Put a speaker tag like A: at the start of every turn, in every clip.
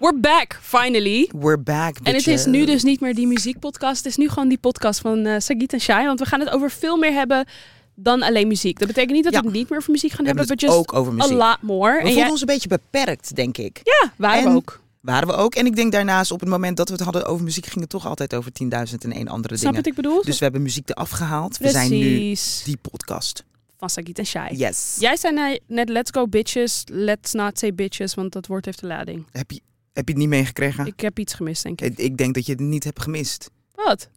A: We're back, finally.
B: We're back,
A: En het is
B: eh,
A: nu dus niet meer die muziekpodcast. Het is nu gewoon die podcast van eh Sagit en Shai. Want we gaan het over veel meer hebben dan alleen muziek. Dat betekent niet dat we
B: Ja.
A: het niet meer over muziek gaan
B: We
A: hebben.
B: hebben
A: but
B: het
A: just
B: ook over muziek.
A: a lot more.
B: We
A: en
B: voelden
A: jij,
B: ons een beetje beperkt, denk ik.
A: ja, waren
B: En-
A: we ook.
B: Waren we ook. En ik denk daarnaast, op het moment dat we het hadden over muziek, ging het toch altijd over 10.001 andere
A: Snap je
B: dingen.
A: wat ik bedoel?
B: Dus we hebben muziek eraf gehaald. We zijn nu
A: Precies.
B: die podcast.
A: Van Sagit en Shai.
B: Yes.
A: Jij zei ne- net let's go bitches, let's not say bitches, want dat woord heeft de lading.
B: Heb, je, heb je het niet meegekregen? Ik,
A: Ik heb iets gemist, denk ik.
B: ik denk dat je het niet hebt gemist.
A: Wat?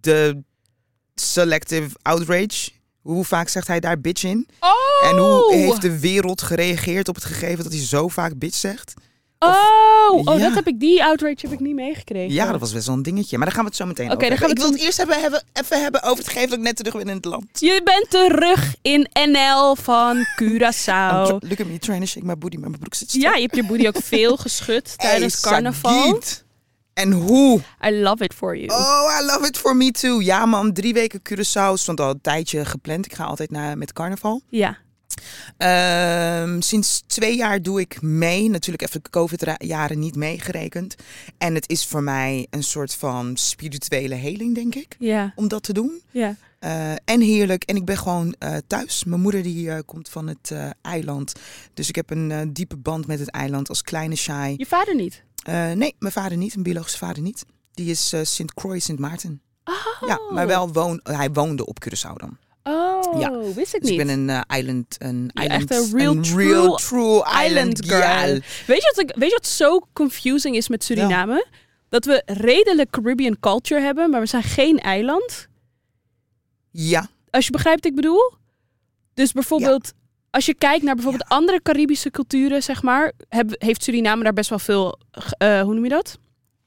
B: De selective outrage. Hoe vaak zegt hij daar bitch in?
A: Oh!
B: En hoe heeft de wereld gereageerd op het gegeven dat hij zo vaak bitch zegt?
A: Oh, oh
B: Ja.
A: dat heb ik, die outrage heb ik niet meegekregen.
B: Ja, dat was best wel een dingetje. Maar daar gaan we het zo meteen
A: Oké,
B: over
A: dan gaan
B: hebben.
A: we
B: Ik wil het eerst hebben, hebben, even hebben over het gegeven dat ik net terug ben in het land.
A: Je bent terug in NL van
B: I'm
A: Curaçao.
B: tr- look at me trying to shake my booty, maar mijn broek zit strak.
A: Oh. Ja, je hebt je booty ook veel geschud
B: Hey,
A: tijdens carnaval.
B: Sagiet. En hoe?
A: I love it for you.
B: Oh, I love it for me too. Ja man, drie weken Curaçao. Stond al een tijdje gepland. Ik ga altijd naar, met carnaval.
A: Ja.
B: Ehm, sinds twee jaar doe ik mee. Natuurlijk even de COVID-jaren niet meegerekend. En het is voor mij een soort van spirituele heling, denk ik.
A: Ja,
B: Om dat te doen.
A: ja.
B: Eh, en heerlijk. En ik ben gewoon eh, thuis. Mijn moeder die eh, komt van het eh, eiland. Dus ik heb een eh, diepe band met het eiland als kleine shy.
A: Je vader niet?
B: Eh, nee, mijn vader niet. Mijn biologische vader niet. Die is eh, Sint Croix, Sint Maarten.
A: Oh.
B: Ja, maar wel woon, hij woonde op Curaçao dan.
A: Oh,
B: Ja.
A: wist ik
B: Dus
A: niet.
B: ik ben een eh, island, een
A: Ja,
B: island,
A: echt een real
B: een real true
A: Island
B: island
A: girl.
B: girl.
A: Weet je, wat ik, weet je wat zo confusing is met Suriname? Dat we redelijk Caribbean culture hebben, maar we zijn geen eiland.
B: Ja,
A: Als je begrijpt wat ik bedoel. Dus bijvoorbeeld, als je kijkt naar bijvoorbeeld andere Caribische culturen, zeg maar, heb- heeft Suriname daar best wel veel, eh, hoe noem je dat?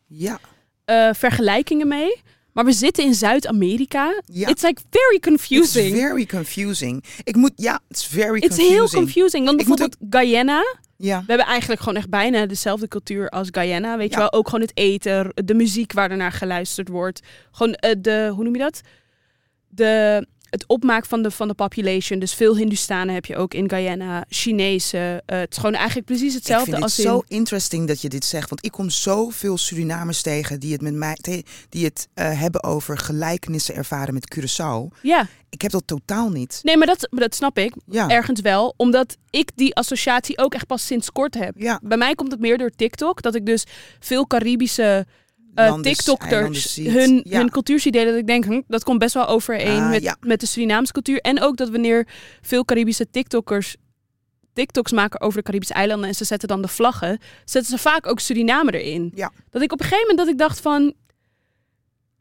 B: ja,
A: Eh, vergelijkingen mee. Maar we zitten in Zuid-Amerika.
B: ja.
A: It's like very
B: It's
A: confusing.
B: very confusing. Ik moet, ja, it's very
A: It's
B: confusing.
A: heel confusing. Dan
B: Ik moet
A: bijvoorbeeld Guyana.
B: Ja,
A: We hebben eigenlijk gewoon echt bijna dezelfde cultuur als Guyana. Weet je
B: Ja.
A: wel, ook gewoon het eten, de muziek waar er naar geluisterd wordt. Gewoon eh, de, hoe noem je dat? De, het opmaak van de, van de population. Dus veel Hindustanen heb je ook in Guyana, Chinezen. Eh, het is gewoon eigenlijk precies
B: ik
A: hetzelfde
B: vind het
A: als in...
B: zo interesting dat je dit zegt. Want ik kom zoveel Surinamers tegen die het, met mij, te- die het eh, hebben over gelijkenissen ervaren met Curaçao.
A: Ja,
B: Ik heb dat totaal niet.
A: nee, maar dat, maar dat snap ik
B: Ja,
A: ergens wel. Omdat ik die associatie ook echt pas sinds kort heb.
B: ja.
A: Bij mij komt het meer door TikTok. Dat ik dus veel Caribische eh,
B: Landen- eilanden
A: TikTokters
B: ziet.
A: hun,
B: Ja.
A: hun cultuur zie delen. Dat ik denk, hm, dat komt best wel overeen
B: Ah,
A: met,
B: ja.
A: met de Surinaamse cultuur. En ook dat wanneer veel Caribische TikTokkers TikToks maken over de Caribische eilanden en ze zetten dan de vlaggen, zetten ze vaak ook Suriname erin.
B: Ja.
A: Dat ik op een gegeven moment dat ik dacht van,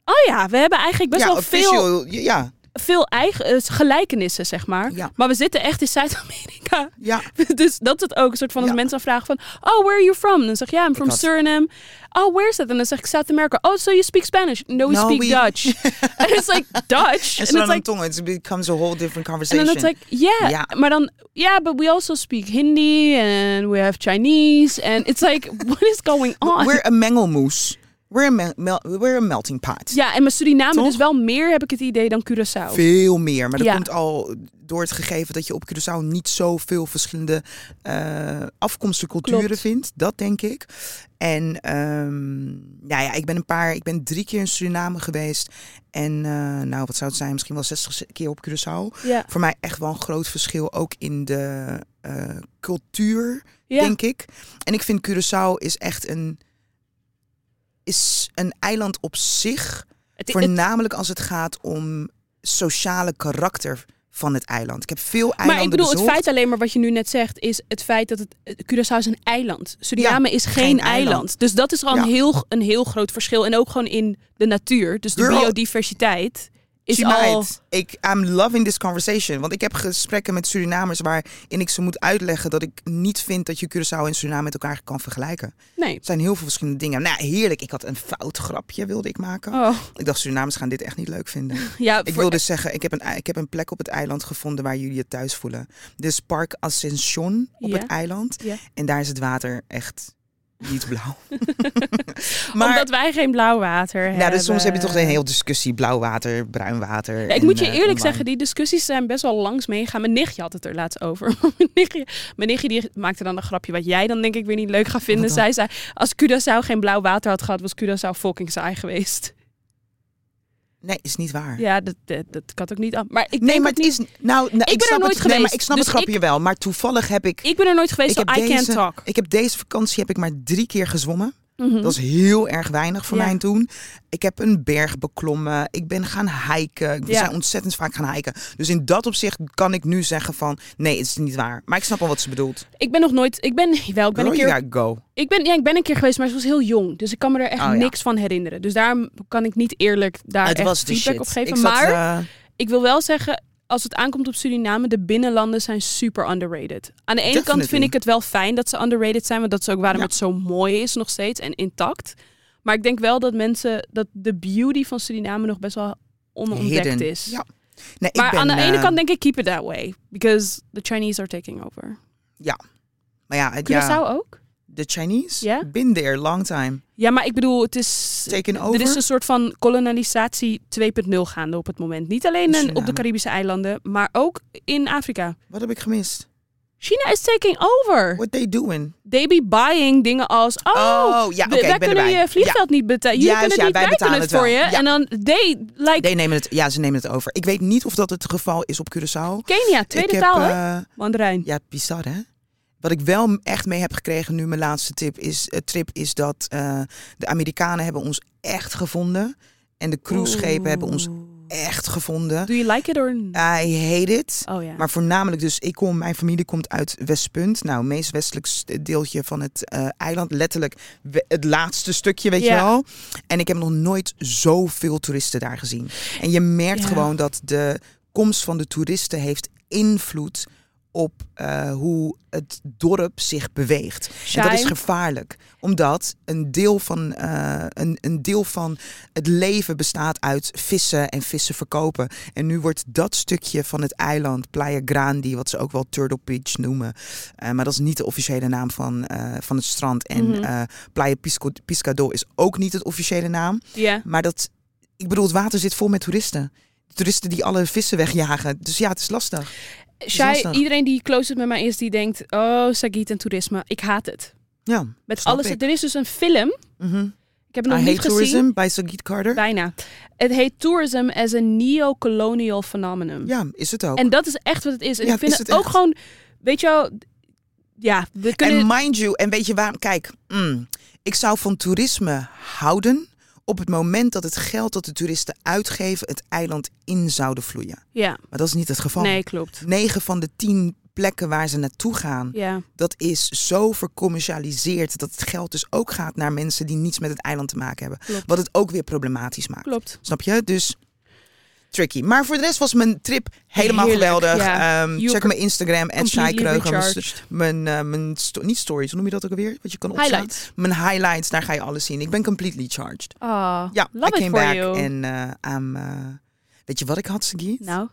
A: oh ja, we hebben eigenlijk best
B: ja,
A: wel veel,
B: official, Ja,
A: veel eigen, eh, gelijkenissen, zeg maar.
B: Ja.
A: Maar we zitten echt in Zuid-Amerika.
B: ja.
A: Dus dat is het ook. Een soort van als
B: Ja.
A: mensen vragen van... Oh, where are you from? Dan zeg ik, ja, I'm from
B: had-
A: Suriname. Oh, where is that? En dan zeg ik South America. Oh, so you speak Spanish? No, we
B: No,
A: speak
B: we-
A: Dutch. And it's like, Dutch?
B: En
A: And it's
B: slaan
A: like...
B: tongen. It becomes a whole different
A: En
B: conversation.
A: dan is like, yeah.
B: Ja.
A: Maar dan, yeah, but we also speak Hindi and we have Chinese. And it's like, what is going on?
B: We're a mengelmoes. We're a, mel- mel- we're a melting pot.
A: Ja, en mijn Suriname
B: Toch?
A: dus wel meer, heb ik het idee, dan Curaçao.
B: Veel meer. Maar dat
A: Oh. Ja.
B: komt al door het gegeven dat je op Curaçao niet zoveel verschillende eh, afkomsten, culturen
A: Klopt.
B: vindt. Dat denk ik. En ehm, nou ja, ik ben een paar, ik ben drie keer in Suriname geweest. En eh, nou, wat zou het zijn? Misschien wel 60 keer op Curaçao.
A: Ja,
B: Voor mij echt wel een groot verschil ook in de eh, cultuur,
A: ja.
B: denk ik. En ik vind Curaçao is echt een, is een eiland op zich.
A: Het- het-
B: Voornamelijk als het gaat om sociale karakter van het eiland. Ik heb veel eilanden
A: maar ik bedoel, het
B: bezocht.
A: feit alleen maar wat je nu net zegt, is het feit dat het eh, Curaçao is een eiland. Suriname is geen,
B: geen
A: eiland.
B: eiland.
A: Dus dat is al
B: Ja.
A: een, heel, een heel groot verschil. En ook gewoon in de natuur. Dus de
B: Girl.
A: biodiversiteit is
B: Tonight,
A: al.
B: ik, I'm loving this conversation. Want ik heb gesprekken met Surinamers waarin ik ze moet uitleggen dat ik niet vind dat je Curaçao en Suriname met elkaar kan vergelijken.
A: Nee.
B: Er zijn heel veel verschillende dingen. Nou, heerlijk. Ik had een fout grapje wilde ik maken.
A: Oh,
B: Ik dacht, Surinamers gaan dit echt niet leuk vinden.
A: ja,
B: Ik
A: voor- e-
B: wil dus zeggen, ik heb, een, ik heb een plek op het eiland gevonden waar jullie het thuis voelen. Dus Park Ascension op
A: Ja.
B: het eiland.
A: Ja.
B: En daar is het water echt Niet blauw.
A: Omdat wij geen blauw water hebben.
B: Nou, dus soms heb je toch een hele discussie blauw water, bruin water.
A: Ja, ik
B: en,
A: moet je
B: eh,
A: eerlijk
B: online.
A: zeggen, die discussies zijn best wel langs meegegaan. Mijn nichtje had het er laatst over. mijn, nichtje, mijn nichtje die maakte dan een grapje wat jij dan denk ik weer niet leuk gaat vinden.
B: Wat
A: Zij
B: dan?
A: zei, als Curaçao geen blauw water had gehad, was Curaçao fucking saai geweest.
B: Nee, is niet waar.
A: Ja, dat, dat, dat kan ook niet aan. Maar ik
B: Nee,
A: denk
B: maar
A: ook
B: het
A: niet...
B: is. Nou, ik,
A: ben er nooit
B: snap het, Nee, maar
A: geweest,
B: ik snap
A: dus
B: het grapje wel. Maar toevallig heb ik.
A: Ik ben er nooit geweest,
B: Ik
A: so
B: heb
A: I can't
B: deze-
A: talk.
B: Ik heb deze vakantie heb ik maar drie keer gezwommen.
A: Mhm.
B: Dat is heel erg weinig voor
A: Ja.
B: mij toen. Ik heb een berg beklommen. Ik ben gaan hiken. Ik
A: Ja.
B: zijn ontzettend vaak gaan hiken. Dus in dat opzicht kan ik nu zeggen van... Nee, het is niet waar. Maar ik snap al wat ze bedoelt.
A: Ik ben nog nooit... Ik ben, wel, ik ben
B: Girl,
A: een keer
B: you gotta go.
A: Ik ben, ja, ik ben een keer geweest, maar ze was heel jong. Dus ik kan me er echt
B: Oh, ja.
A: niks van herinneren. Dus daarom kan ik niet eerlijk daar
B: het
A: echt
B: was de
A: feedback
B: shit.
A: op geven.
B: Ik zat,
A: maar
B: eh,
A: ik wil wel zeggen, als het aankomt op Suriname, de binnenlanden zijn super underrated. Aan de ene kant vind
B: Definitely.
A: ik het wel fijn dat ze underrated zijn, want dat is ook waarom
B: Ja.
A: het zo mooi is nog steeds en intact. Maar ik denk wel dat mensen, dat de beauty van Suriname nog best wel onontdekt
B: hidden.
A: is.
B: Ja. Nee, ik
A: Maar
B: ben,
A: aan de
B: eh,
A: ene kant denk ik, keep it that way. Because the Chinese are taking over.
B: Maar ja, het-
A: Curaçao
B: ja,
A: ook?
B: de Chinese?
A: Ja?
B: Been there, long time.
A: Ja, maar ik bedoel, het is...
B: Taken over?
A: Er is een soort van kolonisatie 2.0 gaande op het moment. Niet alleen
B: In
A: eh, op de
B: Suriname.
A: Caribische eilanden, maar ook in Afrika.
B: Wat heb ik gemist?
A: China is taking over.
B: What they doing?
A: They be buying dingen als... Oh,
B: ja, oké,
A: we- wij
B: ik ben
A: kunnen
B: erbij.
A: je vliegveld niet betalen. Jullie
B: Juist,
A: kunnen het
B: ja,
A: niet,
B: wij
A: wij,
B: betalen
A: kunnen het
B: het
A: voor
B: wel.
A: je. En
B: Ja.
A: dan, they, like,
B: Ja. They nemen het, ja, ze nemen het over. Ik weet niet of dat het geval is op Curaçao.
A: Kenia, tweede
B: ik heb,
A: taal, hè?
B: eh,
A: Mandarijn.
B: Ja, bizar hè? Wat ik wel m- echt mee heb gekregen nu, mijn laatste tip is, eh, trip, is dat eh, de Amerikanen hebben ons echt gevonden. En de cruiseschepen hebben ons
A: Oeh.
B: echt gevonden.
A: Do you like it or... not?
B: I hate it.
A: oh ja.
B: Maar voornamelijk dus, ik kom, mijn familie komt uit Westpunt. Nou, het meest westelijk st- deeltje van het eh, eiland. Letterlijk we- het laatste stukje, weet
A: Ja.
B: je wel. En ik heb nog nooit zoveel toeristen daar gezien. En je merkt
A: Ja.
B: gewoon dat de komst van de toeristen heeft invloed op eh, hoe het dorp zich beweegt. En dat
A: Shai?
B: is gevaarlijk. Omdat een deel, van, eh, een, een deel van het leven bestaat uit vissen en vissen verkopen. En nu wordt dat stukje van het eiland, Playa Grande, wat ze ook wel Turtle Beach noemen. eh, maar dat is niet de officiële naam van, eh, van het strand. En
A: Mhm.
B: eh, Playa Pisco, Piscador is ook niet het officiële naam.
A: Ja.
B: Maar dat, ik bedoel, het water zit vol met toeristen. Toeristen die alle vissen wegjagen. Dus ja, het is lastig.
A: Shai,
B: lastig.
A: iedereen die close met mij is, die denkt... Oh, Sagiet en toerisme, ik haat het.
B: Ja,
A: Met
B: Snap
A: alles.
B: ik.
A: Er is dus een film.
B: mhm.
A: Ik heb
B: I
A: hem nog
B: Hate
A: niet gezien.
B: Tourism bij Sagit Carter.
A: Bijna. Het heet Tourism as a Neo-Colonial Phenomenon.
B: Ja, is het ook.
A: En dat is echt wat het is. En
B: Ja,
A: ik vind
B: is
A: het
B: het
A: ook
B: echt.
A: gewoon... Weet je wel... Ja, we kunnen...
B: En mind you, en weet je waarom? Kijk, mm, ik zou van toerisme houden op het moment dat het geld dat de toeristen uitgeven het eiland in zouden vloeien.
A: ja,
B: Maar dat is niet het geval.
A: nee, klopt.
B: 9 van de 10 plekken waar ze naartoe gaan,
A: Ja,
B: dat is zo vercommercialiseerd dat het geld dus ook gaat naar mensen die niets met het eiland te maken hebben.
A: Klopt.
B: Wat het ook weer problematisch maakt.
A: klopt.
B: Snap je? Dus tricky. Maar voor de rest was mijn trip helemaal
A: Heerlijk,
B: geweldig.
A: ja.
B: Ehm,
A: You
B: check
A: were
B: mijn Instagram, at Shai
A: Completely
B: Kreuger. Mijn, st-
A: recharged.
B: mijn, eh, mijn sto- niet stories, hoe noem je dat ook alweer? Wat je kan opslaan.
A: Highlights.
B: Mijn highlights, daar ga je alles zien. Ik ben completely charged.
A: Ah,
B: Ja,
A: love
B: I
A: it
B: came
A: for
B: back
A: you.
B: en eh I'm, eh, weet je wat ik had, Sagiet?
A: Nou,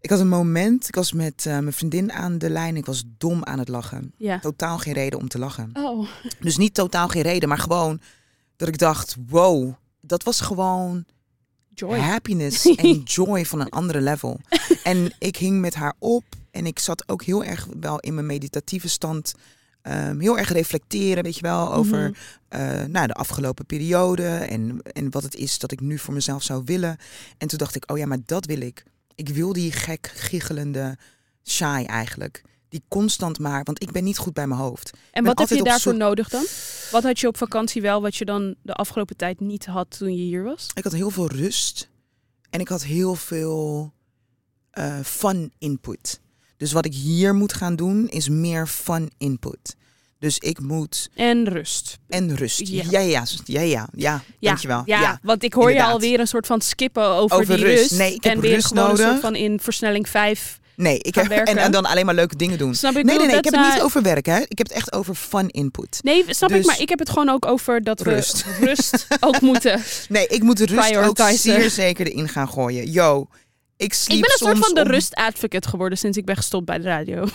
B: Ik had een moment, ik was met eh, mijn vriendin aan de lijn. Ik was dom aan het lachen.
A: ja.
B: Totaal geen reden om te lachen.
A: Oh,
B: Dus niet totaal geen reden, maar gewoon dat ik dacht, wow, dat was gewoon
A: joy.
B: happiness en joy van een andere level. En ik hing met haar op en ik zat ook heel erg wel in mijn meditatieve stand. ehm, heel erg reflecteren, weet je wel, over
A: Mhm.
B: eh, nou, de afgelopen periode en, en wat het is dat ik nu voor mezelf zou willen. En toen dacht ik, oh ja, maar dat wil ik. Ik wil die gek, giechelende saai eigenlijk. Die constant maar, want ik ben niet goed bij mijn hoofd.
A: En wat heb
B: altijd
A: je
B: op
A: daarvoor
B: zoek-
A: nodig dan? Wat had je op vakantie wel, wat je dan de afgelopen tijd niet had toen je hier was?
B: Ik had heel veel rust en ik had heel veel eh, fun input. Dus wat ik hier moet gaan doen is meer fun input. Dus ik moet
A: En rust.
B: en rust.
A: Ja.
B: Ja, ja, ja, ja, ja, ja, dankjewel.
A: Ja, want ik hoor je
B: inderdaad.
A: alweer een soort van skippen over,
B: Over
A: die rust.
B: rust. Nee, ik heb
A: en weer
B: rust
A: gewoon een soort
B: nodig.
A: van in versnelling 5.
B: Nee, ik
A: Gaan
B: heb, en,
A: werken.
B: en dan alleen maar leuke dingen doen.
A: Snap ik?
B: Nee,
A: bedoel,
B: nee, nee, ik heb
A: dat
B: het
A: zijn-
B: niet over werk, hè. Ik heb het echt over fun input.
A: Nee, snap ik,
B: Dus-
A: maar ik heb het gewoon ook over dat
B: Rust.
A: we rust ook moeten.
B: Nee, ik moet de rust ook
A: Prioritizen.
B: zeer zeker erin gaan gooien. Yo, ik sliep
A: ik ben een soort
B: soms
A: van de
B: om-
A: rust advocate geworden sinds ik ben gestopt bij de radio.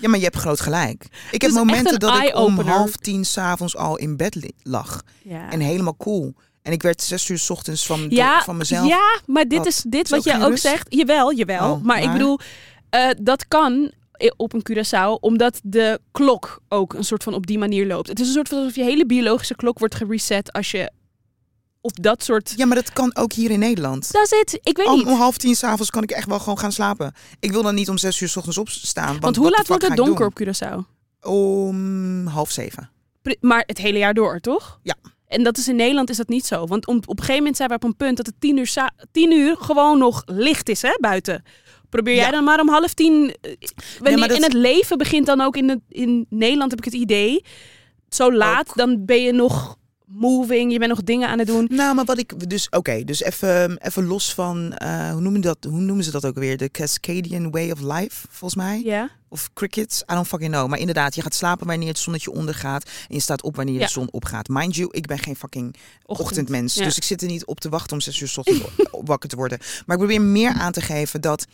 B: Ja, maar je hebt groot gelijk. Ik heb
A: is Dus echt
B: momenten
A: een
B: dat ik om
A: eye-opener.
B: half tien s'avonds al in bed li- lag.
A: Ja.
B: En helemaal cool. En ik werd zes uur 's ochtends van,
A: Ja,
B: van mezelf.
A: Ja, maar dit
B: Wat?
A: is dit
B: Is
A: wat
B: ook
A: jij
B: geen
A: ook
B: rust?
A: zegt. Jawel, jawel.
B: Oh,
A: maar, ik
B: maar?
A: bedoel, eh, dat kan i- op een Curaçao, omdat de klok ook een soort van op die manier loopt. Het is een soort van alsof je hele biologische klok wordt gereset als je op dat soort.
B: Ja, maar dat kan ook hier in Nederland.
A: Dat is het. Ik weet
B: Om,
A: niet.
B: om half tien s'avonds kan ik echt wel gewoon gaan slapen. Ik wil dan niet om zes uur 's ochtends opstaan. Want,
A: Want hoe
B: what
A: laat
B: the
A: wordt
B: fuck
A: het
B: ga ik
A: donker
B: doen?
A: op Curaçao?
B: Om half zeven.
A: Pri- Maar het hele jaar door, toch?
B: Ja.
A: En dat is in Nederland is dat niet zo. Want om, op een gegeven moment zijn we op een punt dat het tien uur, za- tien uur gewoon nog licht is, hè, buiten. Probeer jij
B: Ja.
A: dan maar om half tien... eh, Wanneer,
B: maar dat-
A: En het leven begint dan ook in, het, in Nederland, heb ik het idee. Zo laat, dan ben je nog moving, je bent nog dingen aan het doen.
B: Nou, maar wat ik dus, oké, dus even, even los van, eh, hoe, noemen dat, hoe noemen ze dat ook weer? De Cascadian Way of Life, volgens mij.
A: Ja.
B: Of crickets, I don't fucking know. Maar inderdaad, je gaat slapen wanneer het zonnetje ondergaat. En je staat op wanneer
A: Ja.
B: de zon opgaat. Mind you, ik ben geen fucking
A: Ochtend.
B: ochtendmens.
A: Ja.
B: Dus ik zit er niet op te wachten om zes uur 's ochtends o- wakker te worden. Maar ik probeer meer aan te geven dat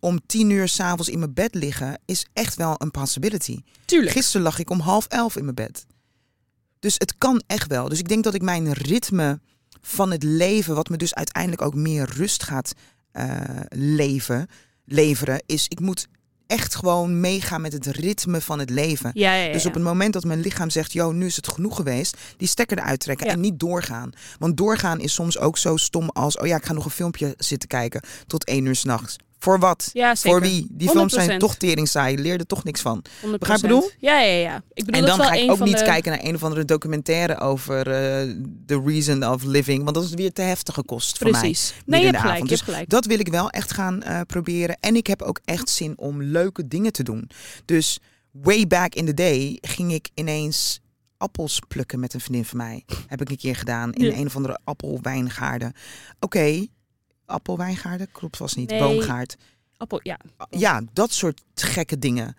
B: om tien uur s'avonds in mijn bed liggen... is echt wel een possibility.
A: Tuurlijk.
B: Gisteren lag ik om half elf in mijn bed. Dus het kan echt wel. Dus ik denk dat ik mijn ritme van het leven, wat me dus uiteindelijk ook meer rust gaat eh, leven, leveren, is ik moet echt gewoon meegaan met het ritme van het leven.
A: Ja, ja, ja,
B: Dus
A: ja.
B: op het moment dat mijn lichaam zegt, joh, nu is het genoeg geweest, die stekker eruit trekken
A: Ja.
B: en niet doorgaan. Want doorgaan is soms ook zo stom als, oh ja, ik ga nog een filmpje zitten kijken tot één uur s'nachts. Voor wat?
A: Ja, zeker.
B: Voor wie? Die films zijn
A: 100%.
B: toch tering saai, leer er toch niks van.
A: 100%.
B: Begrijp je wat ik bedoel?
A: Ja, ja, ja. Ik bedoel,
B: En
A: dat
B: dan
A: is wel
B: ga ik
A: een
B: ook
A: van
B: niet
A: de...
B: kijken naar een of andere documentaire over eh, The Reason of Living. Want dat is weer te heftige kost voor mij.
A: Precies. Nee, je
B: in
A: hebt
B: de
A: gelijk,
B: avond. Dus
A: je hebt gelijk.
B: Dat wil ik wel echt gaan eh, proberen. En ik heb ook echt zin om leuke dingen te doen. Dus way back in the day ging ik ineens appels plukken met een vriendin van mij. Heb ik een keer gedaan in
A: Ja.
B: een of andere appelwijngaarden. Oké, appelwijngaarden? Klopt was niet.
A: Nee.
B: Boomgaard.
A: Appel, ja.
B: Ja, dat soort gekke dingen.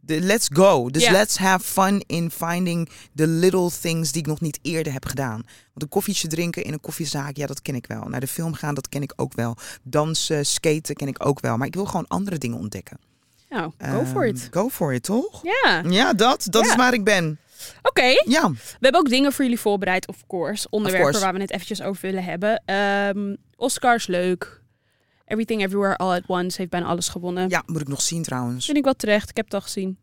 B: De, let's go. Dus
A: Ja.
B: let's have fun in finding the little things die ik nog niet eerder heb gedaan. Want een koffietje drinken in een koffiezaak, ja, dat ken ik wel. Naar de film gaan, dat ken ik ook wel. Dansen, skaten ken ik ook wel. Maar ik wil gewoon andere dingen ontdekken.
A: Nou, go for
B: Ehm,
A: it.
B: Go for it, toch?
A: Ja, oké.
B: Ja, dat. Dat
A: Ja.
B: is waar ik ben. Ja.
A: We hebben ook dingen voor jullie voorbereid, of course. Onderwerpen
B: course.
A: waar we het eventjes over willen hebben. Ehm, Oscars leuk. Everything Everywhere All at Once heeft bijna alles gewonnen.
B: ja, moet ik nog zien trouwens.
A: Vind ik wel terecht. Ik heb het al gezien.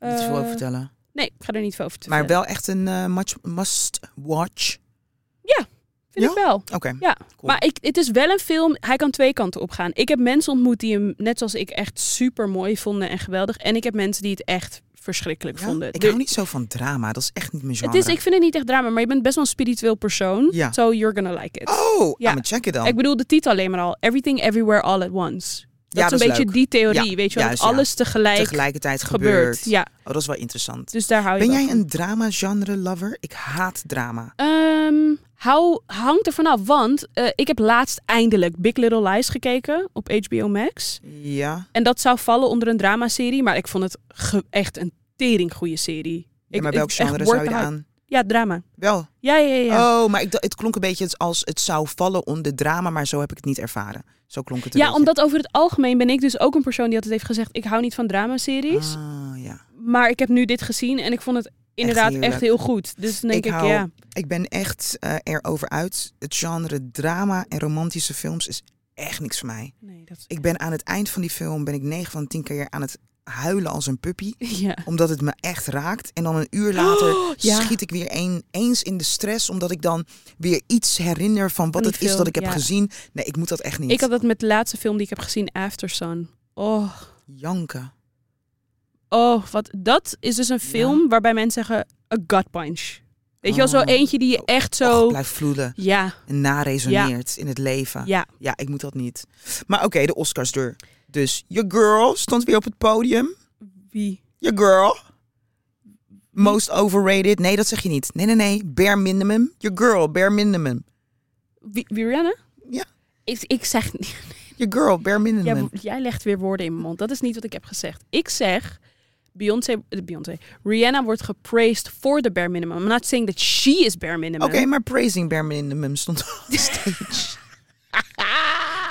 B: Niet te veel over
A: Eh,
B: vertellen.
A: Nee, ik ga er niet veel over vertellen.
B: Maar wel echt een eh, much- must watch.
A: Vind ik wel.
B: Oké.
A: Ja,
B: Cool.
A: maar ik, het is wel een film. Hij kan twee kanten opgaan. Ik heb mensen ontmoet die hem, net zoals ik, echt super mooi vonden en geweldig. En ik heb mensen die het echt verschrikkelijk
B: Ja,
A: vonden.
B: Ik
A: Er-
B: hou niet zo van drama. Dat is echt niet mijn genre.
A: het is, ik vind het niet echt drama, maar je bent best wel een spiritueel persoon.
B: Ja.
A: So you're gonna like it.
B: Oh,
A: Ja.
B: ja. maar check it dan.
A: Ik bedoel de titel alleen maar al. Everything Everywhere All at Once. Dat
B: Ja,
A: is een
B: dat is
A: beetje
B: leuk.
A: die theorie,
B: Ja,
A: weet je wel.
B: juist,
A: dat
B: ja.
A: alles tegelijk,
B: tegelijkertijd
A: gebeurt.
B: gebeurt.
A: Ja,
B: Oh, dat is wel interessant.
A: dus daar hou je
B: Ben
A: wel
B: jij
A: van.
B: een drama-genre-lover? Ik haat drama.
A: Ehm, hou, hangt er vanaf, want eh, ik heb laatst eindelijk Big Little Lies gekeken op HBO Max.
B: Ja.
A: En dat zou vallen onder een dramaserie, maar ik vond het ge- echt een tering goede serie.
B: ja
A: Ik,
B: maar
A: ik-
B: welk
A: echt
B: genre
A: word
B: zou je
A: eruit.
B: aan?
A: Ja, drama.
B: Wel.
A: Ja, ja, ja. ja.
B: Oh, maar ik, dacht- het klonk een beetje als het zou vallen onder drama, maar zo heb ik het niet ervaren. Zo klonk het een
A: Ja,
B: beetje.
A: omdat over het algemeen ben ik dus ook een persoon die altijd heeft gezegd... ik hou niet van dramaseries.
B: Ah, ja.
A: Maar ik heb nu dit gezien en ik vond het inderdaad echt,
B: heerlijk.
A: heel goed. Dus dan denk ik,
B: Ik hou-
A: ja.
B: Ik ben echt eh, erover uit. Het genre drama en romantische films is echt niks voor mij.
A: Nee, dat...
B: Ik ben aan het eind van die film, ben ik 9 van de 10 keer aan het huilen als een puppy.
A: ja.
B: Omdat het me echt raakt. En dan een uur later
A: ja.
B: schiet ik weer een, eens in de stress. Omdat ik dan weer iets herinner van
A: Van
B: wat
A: die
B: het is
A: film,
B: dat ik heb
A: ja.
B: gezien. Nee, ik moet dat echt niet.
A: Ik had dat met de laatste film die ik heb gezien, Aftersun. Oh,
B: Janken.
A: oh wat, dat is dus een film waarbij mensen zeggen, a gut punch. Weet je wel, zo
B: Oh.
A: eentje die je echt zo...
B: Och, blijf vloeden.
A: ja,
B: En naresoneert in het leven.
A: ja.
B: Ja, ik moet dat niet. Maar oké, de Oscars door. Dus je girl stond weer op het podium.
A: Wie?
B: Je girl. Most overrated. Nee, dat zeg je niet. Nee, nee, nee. Bare minimum. Je girl, bare minimum.
A: Wie, wie Rihanna?
B: Ja.
A: Ik, ik zeg niet.
B: Je girl, bare minimum.
A: Jij, jij legt weer woorden in mijn mond. Dat is niet wat ik heb gezegd. Ik zeg. Beyoncé, eh, Beyoncé. Rihanna wordt gepraised voor de bare minimum. I'm not saying that she is bare minimum.
B: Oké, maar praising bare minimum stond op de stage.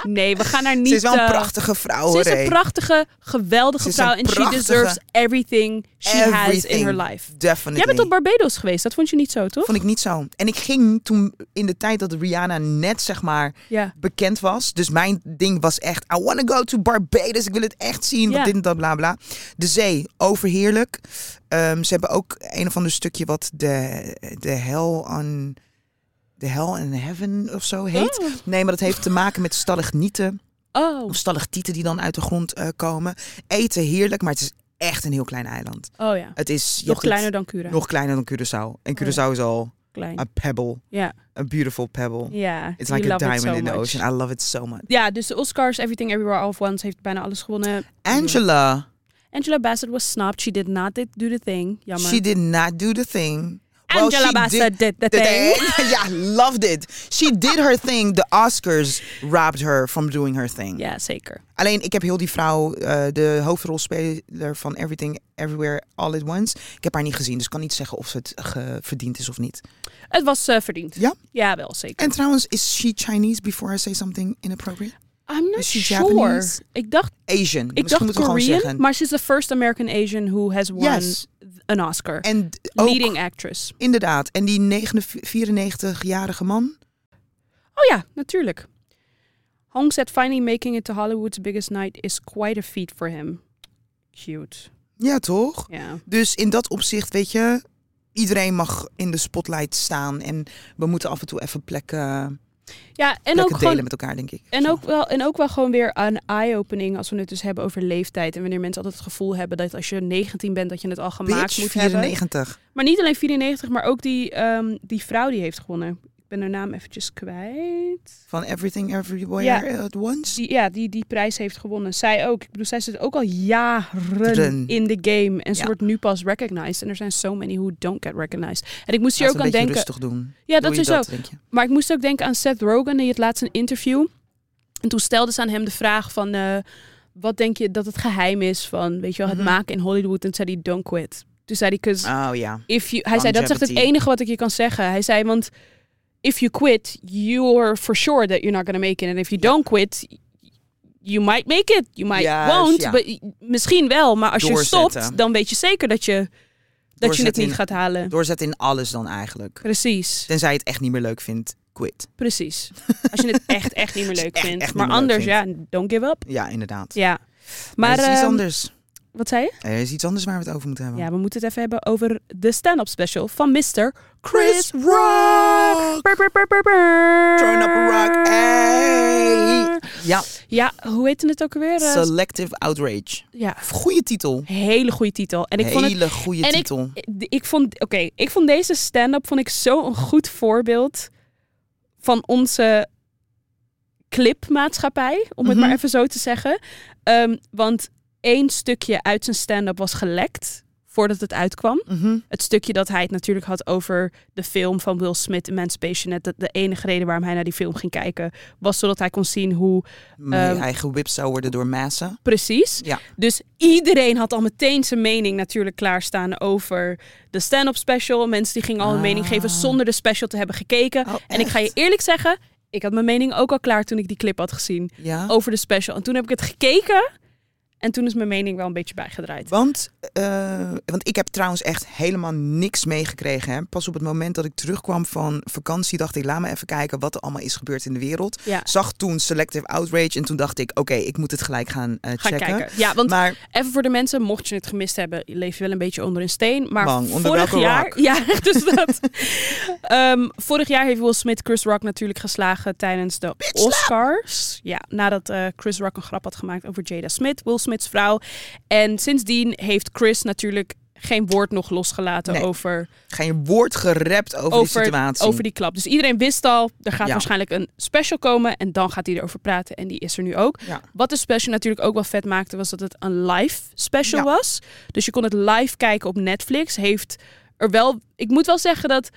A: Nee, we gaan haar niet...
B: Ze is wel een
A: eh,
B: prachtige vrouw.
A: Ze is
B: hoor, hé.
A: een prachtige, geweldige
B: Ze is
A: vrouw.
B: een
A: En she
B: prachtige-
A: deserves everything she has in
B: Everything.
A: her life.
B: Definitely.
A: Jij bent op Barbados geweest, dat vond je niet zo, toch?
B: Vond ik niet zo. En ik ging toen in de tijd dat Rihanna net zeg maar
A: Ja.
B: bekend was. Dus mijn ding was echt, I want to go to Barbados. Ik wil het echt zien.
A: Ja.
B: Wat dit en dat, bla bla. De zee, overheerlijk. Ehm, ze hebben ook een of ander stukje wat de, de hell on... De hell and heaven of zo heet.
A: Oh.
B: Nee, maar dat heeft te maken met stalagnieten.
A: Oh,
B: Of stalactieten die dan uit de grond eh, komen. Eten heerlijk, maar het is echt een heel klein eiland.
A: oh ja.
B: Het is... je
A: Nog
B: hebt het
A: kleiner dan Cura.
B: Nog kleiner dan Curaçao.
A: Oh ja.
B: En Curaçao is al a
A: Klein.
B: pebble.
A: Ja.
B: A beautiful pebble.
A: Ja.
B: It's
A: you
B: like a
A: love it
B: diamond
A: so
B: in the
A: much.
B: ocean. I love it so much.
A: Ja, dus de Oscars, Everything Everywhere All of Once heeft bijna alles gewonnen.
B: Angela,
A: Angela Bassett was snapped. She did not did- do the thing. Jammer.
B: she did not do the thing. Well,
A: Angela
B: she
A: Bassett did, the thing.
B: yeah, loved it. She did her thing. The Oscars robbed her from doing her thing.
A: Ja, zeker.
B: Alleen, ik heb heel die vrouw, eh, de hoofdrolspeler van Everything, Everywhere, All at Once. Ik heb haar niet gezien, dus ik kan niet zeggen of ze het ge- verdiend is of niet.
A: Het was eh, verdiend.
B: Ja?
A: Ja, wel zeker.
B: En trouwens, is she Chinese before I say something inappropriate?
A: I'm not
B: is she
A: sure.
B: Japanese?
A: Ik dacht,
B: Asian.
A: ik
B: Misschien
A: dacht
B: moeten we gewoon
A: Korean,
B: zeggen.
A: maar she's the first American Asian who has won
B: Yes.
A: an Oscar.
B: En d- ook,
A: Leading actress.
B: inderdaad. En die 94-jarige man,
A: Oh ja, natuurlijk. Hong said finally making it to Hollywood's biggest night is quite a feat for him. Cute.
B: ja toch?
A: Ja.
B: Dus in dat opzicht, weet je, iedereen mag in de spotlight staan. En we moeten af en toe even plekken,
A: Ja, en
B: plekken
A: ook
B: delen
A: gewoon
B: met elkaar, denk ik.
A: En
B: Zo.
A: ook, wel, en ook wel gewoon weer een eye-opening als we het dus hebben over leeftijd. En wanneer mensen altijd het gevoel hebben dat als je 19 bent, dat je het al gemaakt
B: Bitch,
A: moet hebben.
B: 94.
A: Maar niet alleen 94, maar ook die, ehm, die vrouw die heeft gewonnen. Ik ben haar naam eventjes kwijt.
B: Van Everything Everywhere eh,
A: Ja.
B: at Once.
A: Die, ja, die die prijs heeft gewonnen. Zij ook. Ik bedoel, zij zit ook al jaren
B: Ren.
A: in de game. En ze
B: Ja.
A: wordt nu pas recognized. En er zijn so many who don't get recognized. En ik moest hier
B: Laat
A: ook
B: een
A: aan
B: beetje
A: denken.
B: rustig doen.
A: Ja, dat
B: Doe je
A: is zo.
B: denk je.
A: Maar ik moest ook denken aan Seth Rogen. Die het laatst een interview. En toen stelde ze aan hem de vraag van... eh, wat denk je dat het geheim is van weet je wel, het
B: Mhm.
A: maken in Hollywood? En toen zei hij, don't quit. Toen zei hij, 'Cause
B: Oh ja.
A: if you... Hij zei, dat is echt het
B: Longevity.
A: enige wat ik je kan zeggen. Hij zei, want if you quit, you're for sure that you're not gonna make it. And if you
B: Ja.
A: don't quit, you might make it. You might
B: Juist,
A: won't.
B: ja.
A: But, misschien wel, maar als je
B: Doorzetten.
A: stopt, dan weet je zeker dat je, dat je het
B: Doorzetten
A: niet
B: in-
A: gaat halen.
B: Doorzet in alles dan eigenlijk.
A: Precies.
B: Tenzij je het echt niet meer leuk vindt, quit.
A: Precies. Als je het echt, echt niet meer leuk
B: Echt,
A: vindt.
B: echt niet
A: maar
B: meer leuk
A: anders, ja,
B: vindt.
A: don't give up.
B: Ja, inderdaad.
A: Ja. Maar,
B: er is iets
A: ehm,
B: anders.
A: wat zei je?
B: Er is iets anders waar we het over moeten hebben.
A: Ja, we moeten het even hebben over de stand-up special van Mr. Chris
B: Chris
A: Rock.
B: Rock!
A: Brr, brr, brr, brr, brr.
B: Turn up a rock, hey! Ja,
A: Ja, hoe heette het ook weer? Eh,
B: Selective Outrage.
A: ja,
B: Goeie titel.
A: hele goede titel. En ik vond het...
B: Hele goede
A: en ik-
B: titel.
A: Ik, ik vond, oké, ik vond deze stand-up vond ik zo'n goed voorbeeld van onze clipmaatschappij, om het
B: Mhm.
A: maar even zo te zeggen. Ehm, want één stukje uit zijn stand-up was gelekt voordat het uitkwam.
B: Mhm.
A: Het stukje dat hij het natuurlijk had over de film van Will Smith, Emancipation. Net dat de enige reden waarom hij naar die film ging kijken was zodat hij kon zien hoe
B: Mijn
A: Ehm,
B: eigen whip zou worden door massa.
A: precies.
B: Ja.
A: Dus iedereen had al meteen zijn mening natuurlijk klaarstaan over de stand-up special. Mensen die gingen al hun mening
B: Ah.
A: geven zonder de special te hebben gekeken.
B: Oh,
A: en ik ga je
B: echt?
A: eerlijk zeggen, ik had mijn mening ook al klaar toen ik die clip had gezien
B: Ja.
A: over de special. En toen heb ik het gekeken en toen is mijn mening wel een beetje bijgedraaid.
B: Want, eh, want ik heb trouwens echt helemaal niks meegekregen. hè. Pas op het moment dat ik terugkwam van vakantie, dacht ik, laat me even kijken wat er allemaal is gebeurd in de wereld.
A: Ja.
B: Zag toen Selective Outrage en toen dacht ik, oké, ik moet het gelijk gaan eh,
A: Gaan
B: checken.
A: kijken. Ja, want
B: Maar
A: Even voor de mensen, mocht je het gemist hebben, leef je wel een beetje onder een steen. Maar
B: Bang, onder
A: vorig
B: welke
A: jaar.
B: rock?
A: Ja, dus dat. Ehm, vorig jaar heeft Will Smith Chris Rock natuurlijk geslagen tijdens de Oscars. Ja, nadat eh, Chris Rock een grap had gemaakt over Jada Smith, Will Smith's vrouw. En sindsdien heeft Chris natuurlijk geen woord nog losgelaten
B: Nee.
A: over,
B: geen woord gerept over, die situatie.
A: over die klap. Dus iedereen wist al, er gaat
B: Ja.
A: waarschijnlijk een special komen. En dan gaat hij erover praten. En die is er nu ook.
B: Ja.
A: Wat de special natuurlijk ook wel vet maakte, was dat het een live special
B: Ja.
A: was. Dus je kon het live kijken op Netflix. Heeft er wel, ik moet wel zeggen dat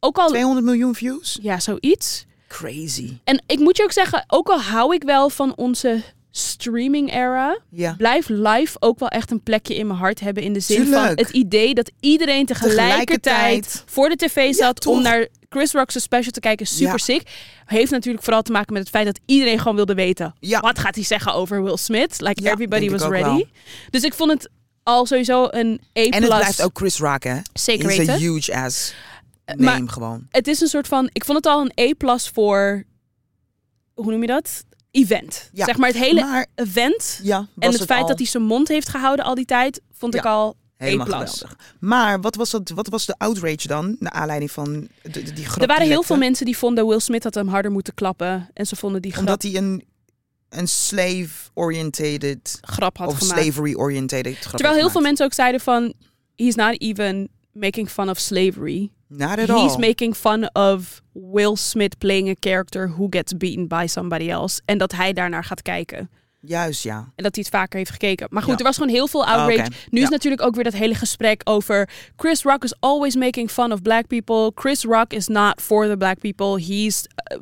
A: ook al.
B: 200 miljoen views?
A: Ja, zoiets.
B: Crazy.
A: En ik moet je ook zeggen, ook al hou ik wel van onze streaming era
B: Ja.
A: blijft live ook wel echt een plekje in mijn hart hebben. In de zin van
B: Tuurlijk.
A: het idee dat iedereen tegelijkertijd,
B: Tegelijkertijd.
A: voor de tv zat
B: toch?
A: om naar Chris Rock's special te kijken. Super
B: Ja.
A: sick. Heeft natuurlijk vooral te maken met het feit dat iedereen gewoon wilde weten.
B: Ja.
A: Wat gaat hij zeggen over Will Smith? Like
B: Ja,
A: everybody
B: denk ik
A: was
B: ook
A: ready.
B: wel.
A: Dus ik vond het al sowieso een A+.
B: En het blijft ook Chris Rock, hè?
A: Zeker
B: He's
A: weten. Eh,
B: a huge ass name
A: maar-
B: gewoon.
A: Het is een soort van... Ik vond het al een A+, voor... Hoe noem je dat? Event.
B: Ja.
A: Zeg maar het hele
B: maar
A: event.
B: ja,
A: En
B: was
A: het, feit
B: al
A: dat hij zijn mond heeft gehouden al die tijd, vond
B: Ja.
A: ik al
B: helemaal
A: A+.
B: geweldig. Maar wat was, dat, wat was de outrage dan? Naar aanleiding van de, de- die grap
A: Er waren
B: die
A: heel
B: lekte?
A: veel mensen die vonden Will Smith had hem harder moeten klappen. En ze vonden die grap,
B: Omdat hij een, een slave-orientated
A: grap had
B: of
A: gemaakt.
B: slavery-orientated grap
A: Terwijl
B: heeft
A: heel veel
B: gemaakt.
A: mensen ook zeiden van... He's not even making fun of slavery.
B: Not at
A: He's
B: all.
A: making fun of Will Smith playing a character who gets beaten by somebody else. En dat hij daarnaar gaat kijken.
B: Juist, ja.
A: En dat hij het vaker heeft gekeken. Maar goed,
B: Ja. Ah,
A: er was gewoon heel veel outrage.
B: Oké,
A: Nu
B: ja.
A: is natuurlijk ook weer dat hele gesprek over... Chris Rock is always making fun of black people. Chris Rock is not for the black people. He's eh,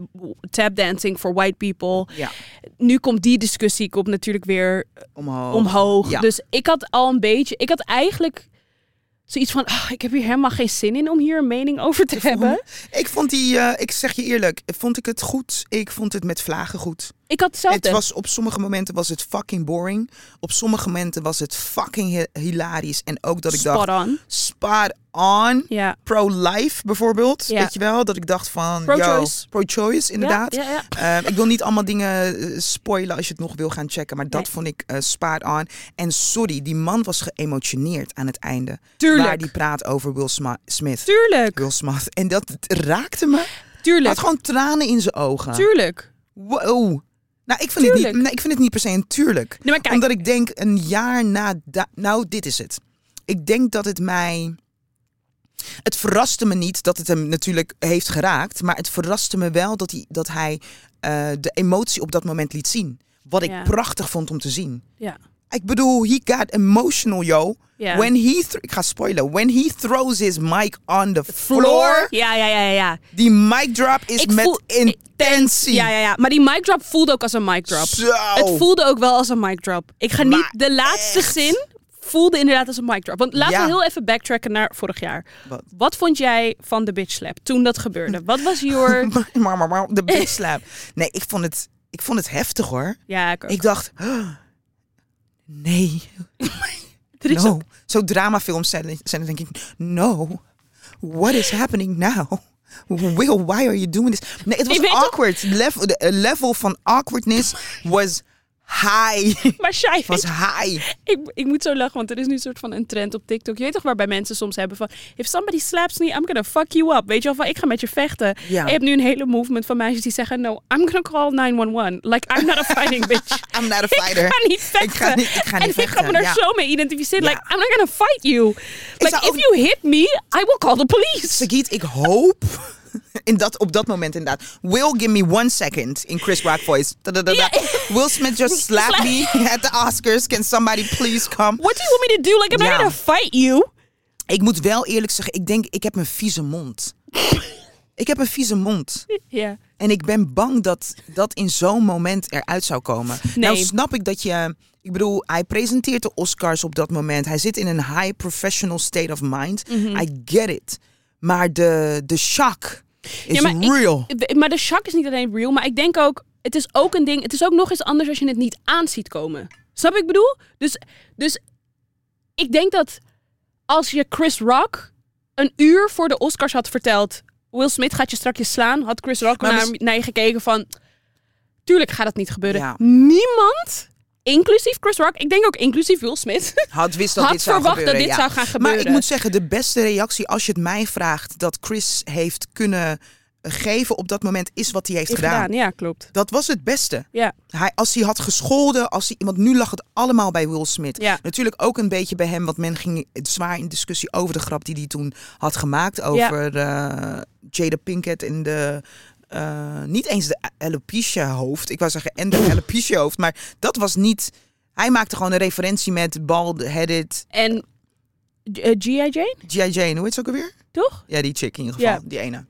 A: tap dancing for white people.
B: Ja,
A: nu komt die discussie komt natuurlijk weer
B: omhoog.
A: omhoog.
B: ja.
A: Dus ik had al een beetje, ik had eigenlijk zoiets van, ah, ik heb hier helemaal geen zin in om hier een mening over te hebben.
B: Ik vond die, eh, ik zeg je eerlijk, vond ik het goed. Ik vond het met vlagen goed.
A: Ik had hetzelfde.
B: Het was, op sommige momenten was het fucking boring. Op sommige momenten was het fucking hi- hilarisch. En ook dat ik
A: Spot
B: dacht,
A: on.
B: spot on.
A: Ja.
B: Pro-life bijvoorbeeld,
A: Ja.
B: weet je wel? Dat ik dacht van,
A: Pro-choice.
B: yo, pro-choice inderdaad.
A: Ja, ja, ja.
B: Eh, ik wil niet allemaal dingen eh, spoilen als je het nog wil gaan checken. Maar dat
A: Nee.
B: vond ik eh spaard aan. En sorry, die man was geëmotioneerd aan het einde. Waar
A: Tuurlijk.
B: die praat over Will Sma- Smith.
A: Tuurlijk.
B: Will Smith. En dat raakte me. Hij had
A: Tuurlijk.
B: gewoon tranen in zijn ogen.
A: Tuurlijk.
B: Wow. Nou, ik vind, het niet,
A: Tuurlijk.
B: nou, ik vind het niet per se een tuurlijk.
A: Nee, maar kijk.
B: Omdat ik denk een jaar na... da- nou, dit is het. Ik denk dat het mij... Het verraste me niet dat het hem natuurlijk heeft geraakt. Maar het verraste me wel dat hij, dat hij eh, de emotie op dat moment liet zien. Wat ik
A: Ja.
B: prachtig vond om te zien.
A: Ja.
B: Ik bedoel, he got emotional, yo.
A: Ja.
B: When he... thr- Ik ga spoilen. When he throws his mic on the floor...
A: Ja, ja, ja, ja, ja.
B: Die mic drop is
A: Ik
B: met
A: voel- ik-
B: intentie.
A: Ja, ja, ja. Maar die mic drop voelde ook als een mic drop.
B: Zo.
A: Het voelde ook wel als een mic drop. Ik ga
B: Maar
A: niet de laatste
B: echt?
A: zin voelde inderdaad als een mic drop. Want laten
B: Ja.
A: we heel even backtracken naar vorig jaar.
B: Wat?
A: vond jij van de bitch slap toen dat gebeurde? Wat was your
B: maar, maar, maar, de bitch slap. Nee, ik vond het, ik vond het heftig hoor.
A: ja, ik, ook.
B: Ik dacht, "Huh, nee,
A: Er is
B: no.
A: ook-
B: Zo dramafilms zijn, zijn dan denk ik, no, what is happening now? Will, why are you doing this? Nee, het
A: Ik
B: was
A: weet ook-
B: awkward. Level, de eh, level van awkwardness was high.
A: Maar Shai,
B: Was high.
A: ik, ik moet zo lachen, want er is nu een soort van een trend op TikTok. Je weet toch waarbij mensen soms hebben van... If somebody slaps me, I'm gonna fuck you up. Weet je wel, van ik ga met je vechten.
B: Ja.
A: En Je hebt nu een hele movement van meisjes die zeggen... No, I'm gonna call 911. Like, I'm not a fighting bitch.
B: I'm not a fighter.
A: Ik ga niet vechten.
B: Ik ga niet, ik ga niet
A: en ik
B: vechten.
A: ga me daar
B: ja.
A: zo mee identificeren.
B: Ja.
A: Like, I'm not gonna fight you. Like,
B: zou
A: if
B: ook-
A: you hit me, I will call the police.
B: Sagiet, ik hoop in dat, op dat moment inderdaad. Will, give me one second in Chris Rock voice. Da, da, da, da. Will Smith just slapped me at the Oscars. Can somebody please come?
A: What do you want me to do? Like, I'm
B: Ja.
A: not gonna fight you.
B: Ik moet wel eerlijk zeggen, ik denk, ik heb een vieze mond. ik heb een vieze mond.
A: Ja.
B: En ik ben bang dat dat in zo'n moment eruit zou komen. Nou
A: Nee.
B: snap ik dat je... Ik bedoel, hij presenteert de Oscars op dat moment. Hij zit in een high professional state of mind.
A: Mhm.
B: I get it. Maar de, de shock is
A: maar ik-
B: real.
A: We- Maar de shock is niet alleen real, maar ik denk ook, het is ook een ding, het is ook nog eens anders als je het niet aan ziet komen. Snap wat ik bedoel? Dus, dus ik denk dat als je Chris Rock een uur voor de Oscars had verteld, Will Smith gaat je strakjes slaan, had Chris Rock
B: Maar
A: naar,
B: mis-
A: naar je gekeken van, tuurlijk gaat dat niet gebeuren.
B: Ja.
A: Niemand, inclusief Chris Rock, ik denk ook inclusief Will Smith,
B: had wist dat
A: Had
B: dit zou
A: verwacht dat
B: gebeuren,
A: dit
B: ja.
A: zou gaan gebeuren.
B: Maar ik moet zeggen, de beste reactie als je het mij vraagt dat Chris heeft kunnen geven op dat moment is wat hij heeft
A: heeft
B: gedaan.
A: gedaan. Ja, klopt.
B: Dat was het beste.
A: Ja.
B: Hij, als hij had gescholden, als hij, want nu lag het allemaal bij Will Smith.
A: Ja.
B: Natuurlijk ook een beetje bij hem, want men ging zwaar in discussie over de grap die hij toen had gemaakt over eh, Jada Pinkett en de. eh, niet eens de alopecia hoofd. Ik wou zeggen en de alopecia hoofd, maar dat was niet. Hij maakte gewoon een referentie met bald-headed
A: En eh, G.I. Jane,
B: G.I. Jane, hoe heet ze ook alweer?
A: toch?
B: Ja, die chick in ieder geval.
A: Ja.
B: Die ene.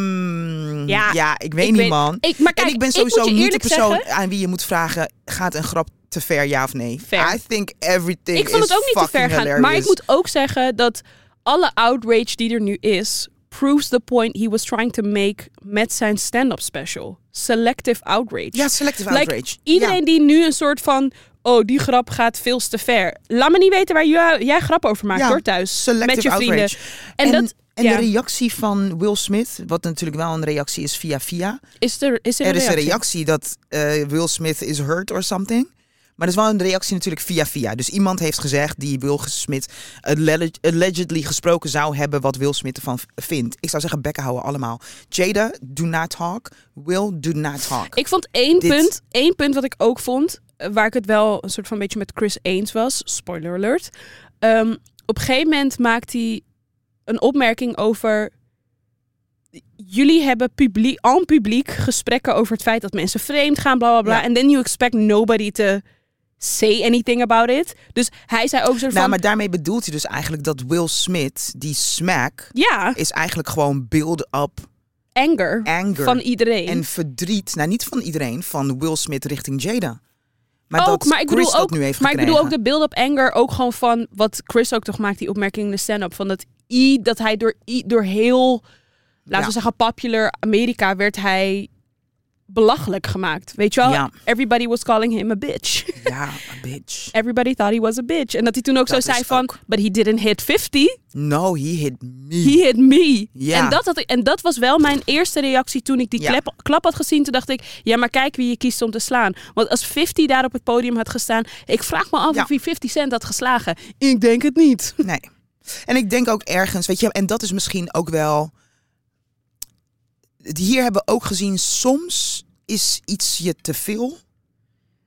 B: Ehm,
A: Ja,
B: ja, ik weet
A: ik
B: niet,
A: weet-
B: man.
A: Ik, maar kijk,
B: en ik ben
A: moet je
B: sowieso niet de
A: eerlijk
B: persoon
A: zeggen,
B: aan wie je moet vragen: gaat een grap te ver, ja of nee?
A: Fair.
B: I think everything.
A: ik vond het
B: is
A: ook niet te ver
B: fucking
A: gaan. Maar ik
B: hilarious.
A: moet ook zeggen dat alle outrage die er nu is, proves the point he was trying to make met zijn stand-up special. Selective outrage.
B: Ja, selective
A: Like,
B: outrage.
A: Iedereen die nu een soort van. Oh, die grap gaat veel te ver. Laat me niet weten waar jij, jij grap over maakt
B: Ja,
A: hoor thuis.
B: selective
A: met je vrienden.
B: outrage.
A: En, dat
B: en
A: ja.
B: de reactie van Will Smith, wat natuurlijk wel een reactie is via via.
A: is er, is er,
B: Er is een reactie dat eh, Will Smith is hurt or something. Maar dat is wel een reactie natuurlijk via via. Dus iemand heeft gezegd die Will Smith alle- allegedly gesproken zou hebben wat Will Smith ervan v- vindt. Ik zou zeggen, bekken houden allemaal. Jada, do not talk. Will, do not talk.
A: Ik vond één
B: Dit.
A: punt, één punt wat ik ook vond, eh, waar ik het wel een soort van beetje met Chris eens was. Spoiler alert. Ehm, op een gegeven moment maakt hij een opmerking over. Jullie hebben publiek, aan publiek gesprekken over het feit dat mensen vreemd gaan, bla bla bla.
B: Ja.
A: En then you expect nobody to say anything about it. Dus hij zei ook een soort
B: nou,
A: van.
B: maar daarmee bedoelt hij dus eigenlijk dat Will Smith, die smack,
A: Ja,
B: is eigenlijk gewoon build up
A: anger,
B: anger.
A: van iedereen.
B: en verdriet, nou niet van iedereen, van Will Smith richting Jada. Maar
A: ook,
B: dat
A: maar ik
B: Chris
A: bedoel
B: dat
A: ook,
B: nu heeft
A: maar ik
B: gekregen.
A: bedoel ook de build-up anger, ook gewoon van wat Chris ook toch maakt die opmerking in de stand-up van dat i dat hij door i door heel, laten
B: Ja.
A: we zeggen popular Amerika werd hij belachelijk gemaakt, weet je wel?
B: Ja.
A: Everybody was calling him a bitch.
B: Ja, a bitch.
A: Everybody thought he was a bitch. En dat hij toen ook zo
B: Dat
A: zei
B: is
A: van,
B: ook-
A: but he didn't hit 50,
B: No, he hit me.
A: he hit me.
B: Ja.
A: En, dat had ik, en dat was wel mijn eerste reactie toen ik die
B: Ja.
A: klep- klap had gezien. Toen dacht ik, ja, maar kijk wie je kiest om te slaan. Want als 50 daar op het podium had gestaan, ik vraag me af
B: Ja.
A: of hij 50 cent had geslagen. Ik denk het niet.
B: Nee. En ik denk ook ergens, weet je, en dat is misschien ook wel. Hier hebben we ook gezien, soms is iets je te veel.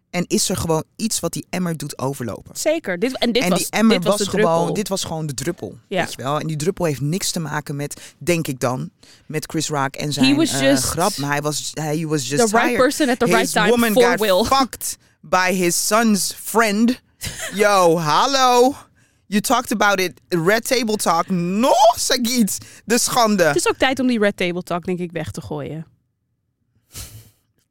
B: En is er gewoon iets wat die emmer doet overlopen.
A: Zeker. Dit, en dit
B: en
A: was,
B: die emmer
A: dit was, de
B: gewoon,
A: druppel.
B: dit was gewoon de druppel.
A: Ja.
B: Weet je wel? En die druppel heeft niks te maken met, denk ik dan, met Chris Rock en
A: He
B: zijn
A: was
B: eh,
A: just
B: grap. Maar hij was, hij was just
A: the right
B: tired.
A: person at the right
B: his
A: time
B: woman
A: for
B: got
A: Will.
B: fucked by his son's friend. Yo, hallo. You talked about it. Red Table Talk. Nog iets. De schande.
A: Het is ook tijd om die Red Table Talk, denk ik, weg te gooien.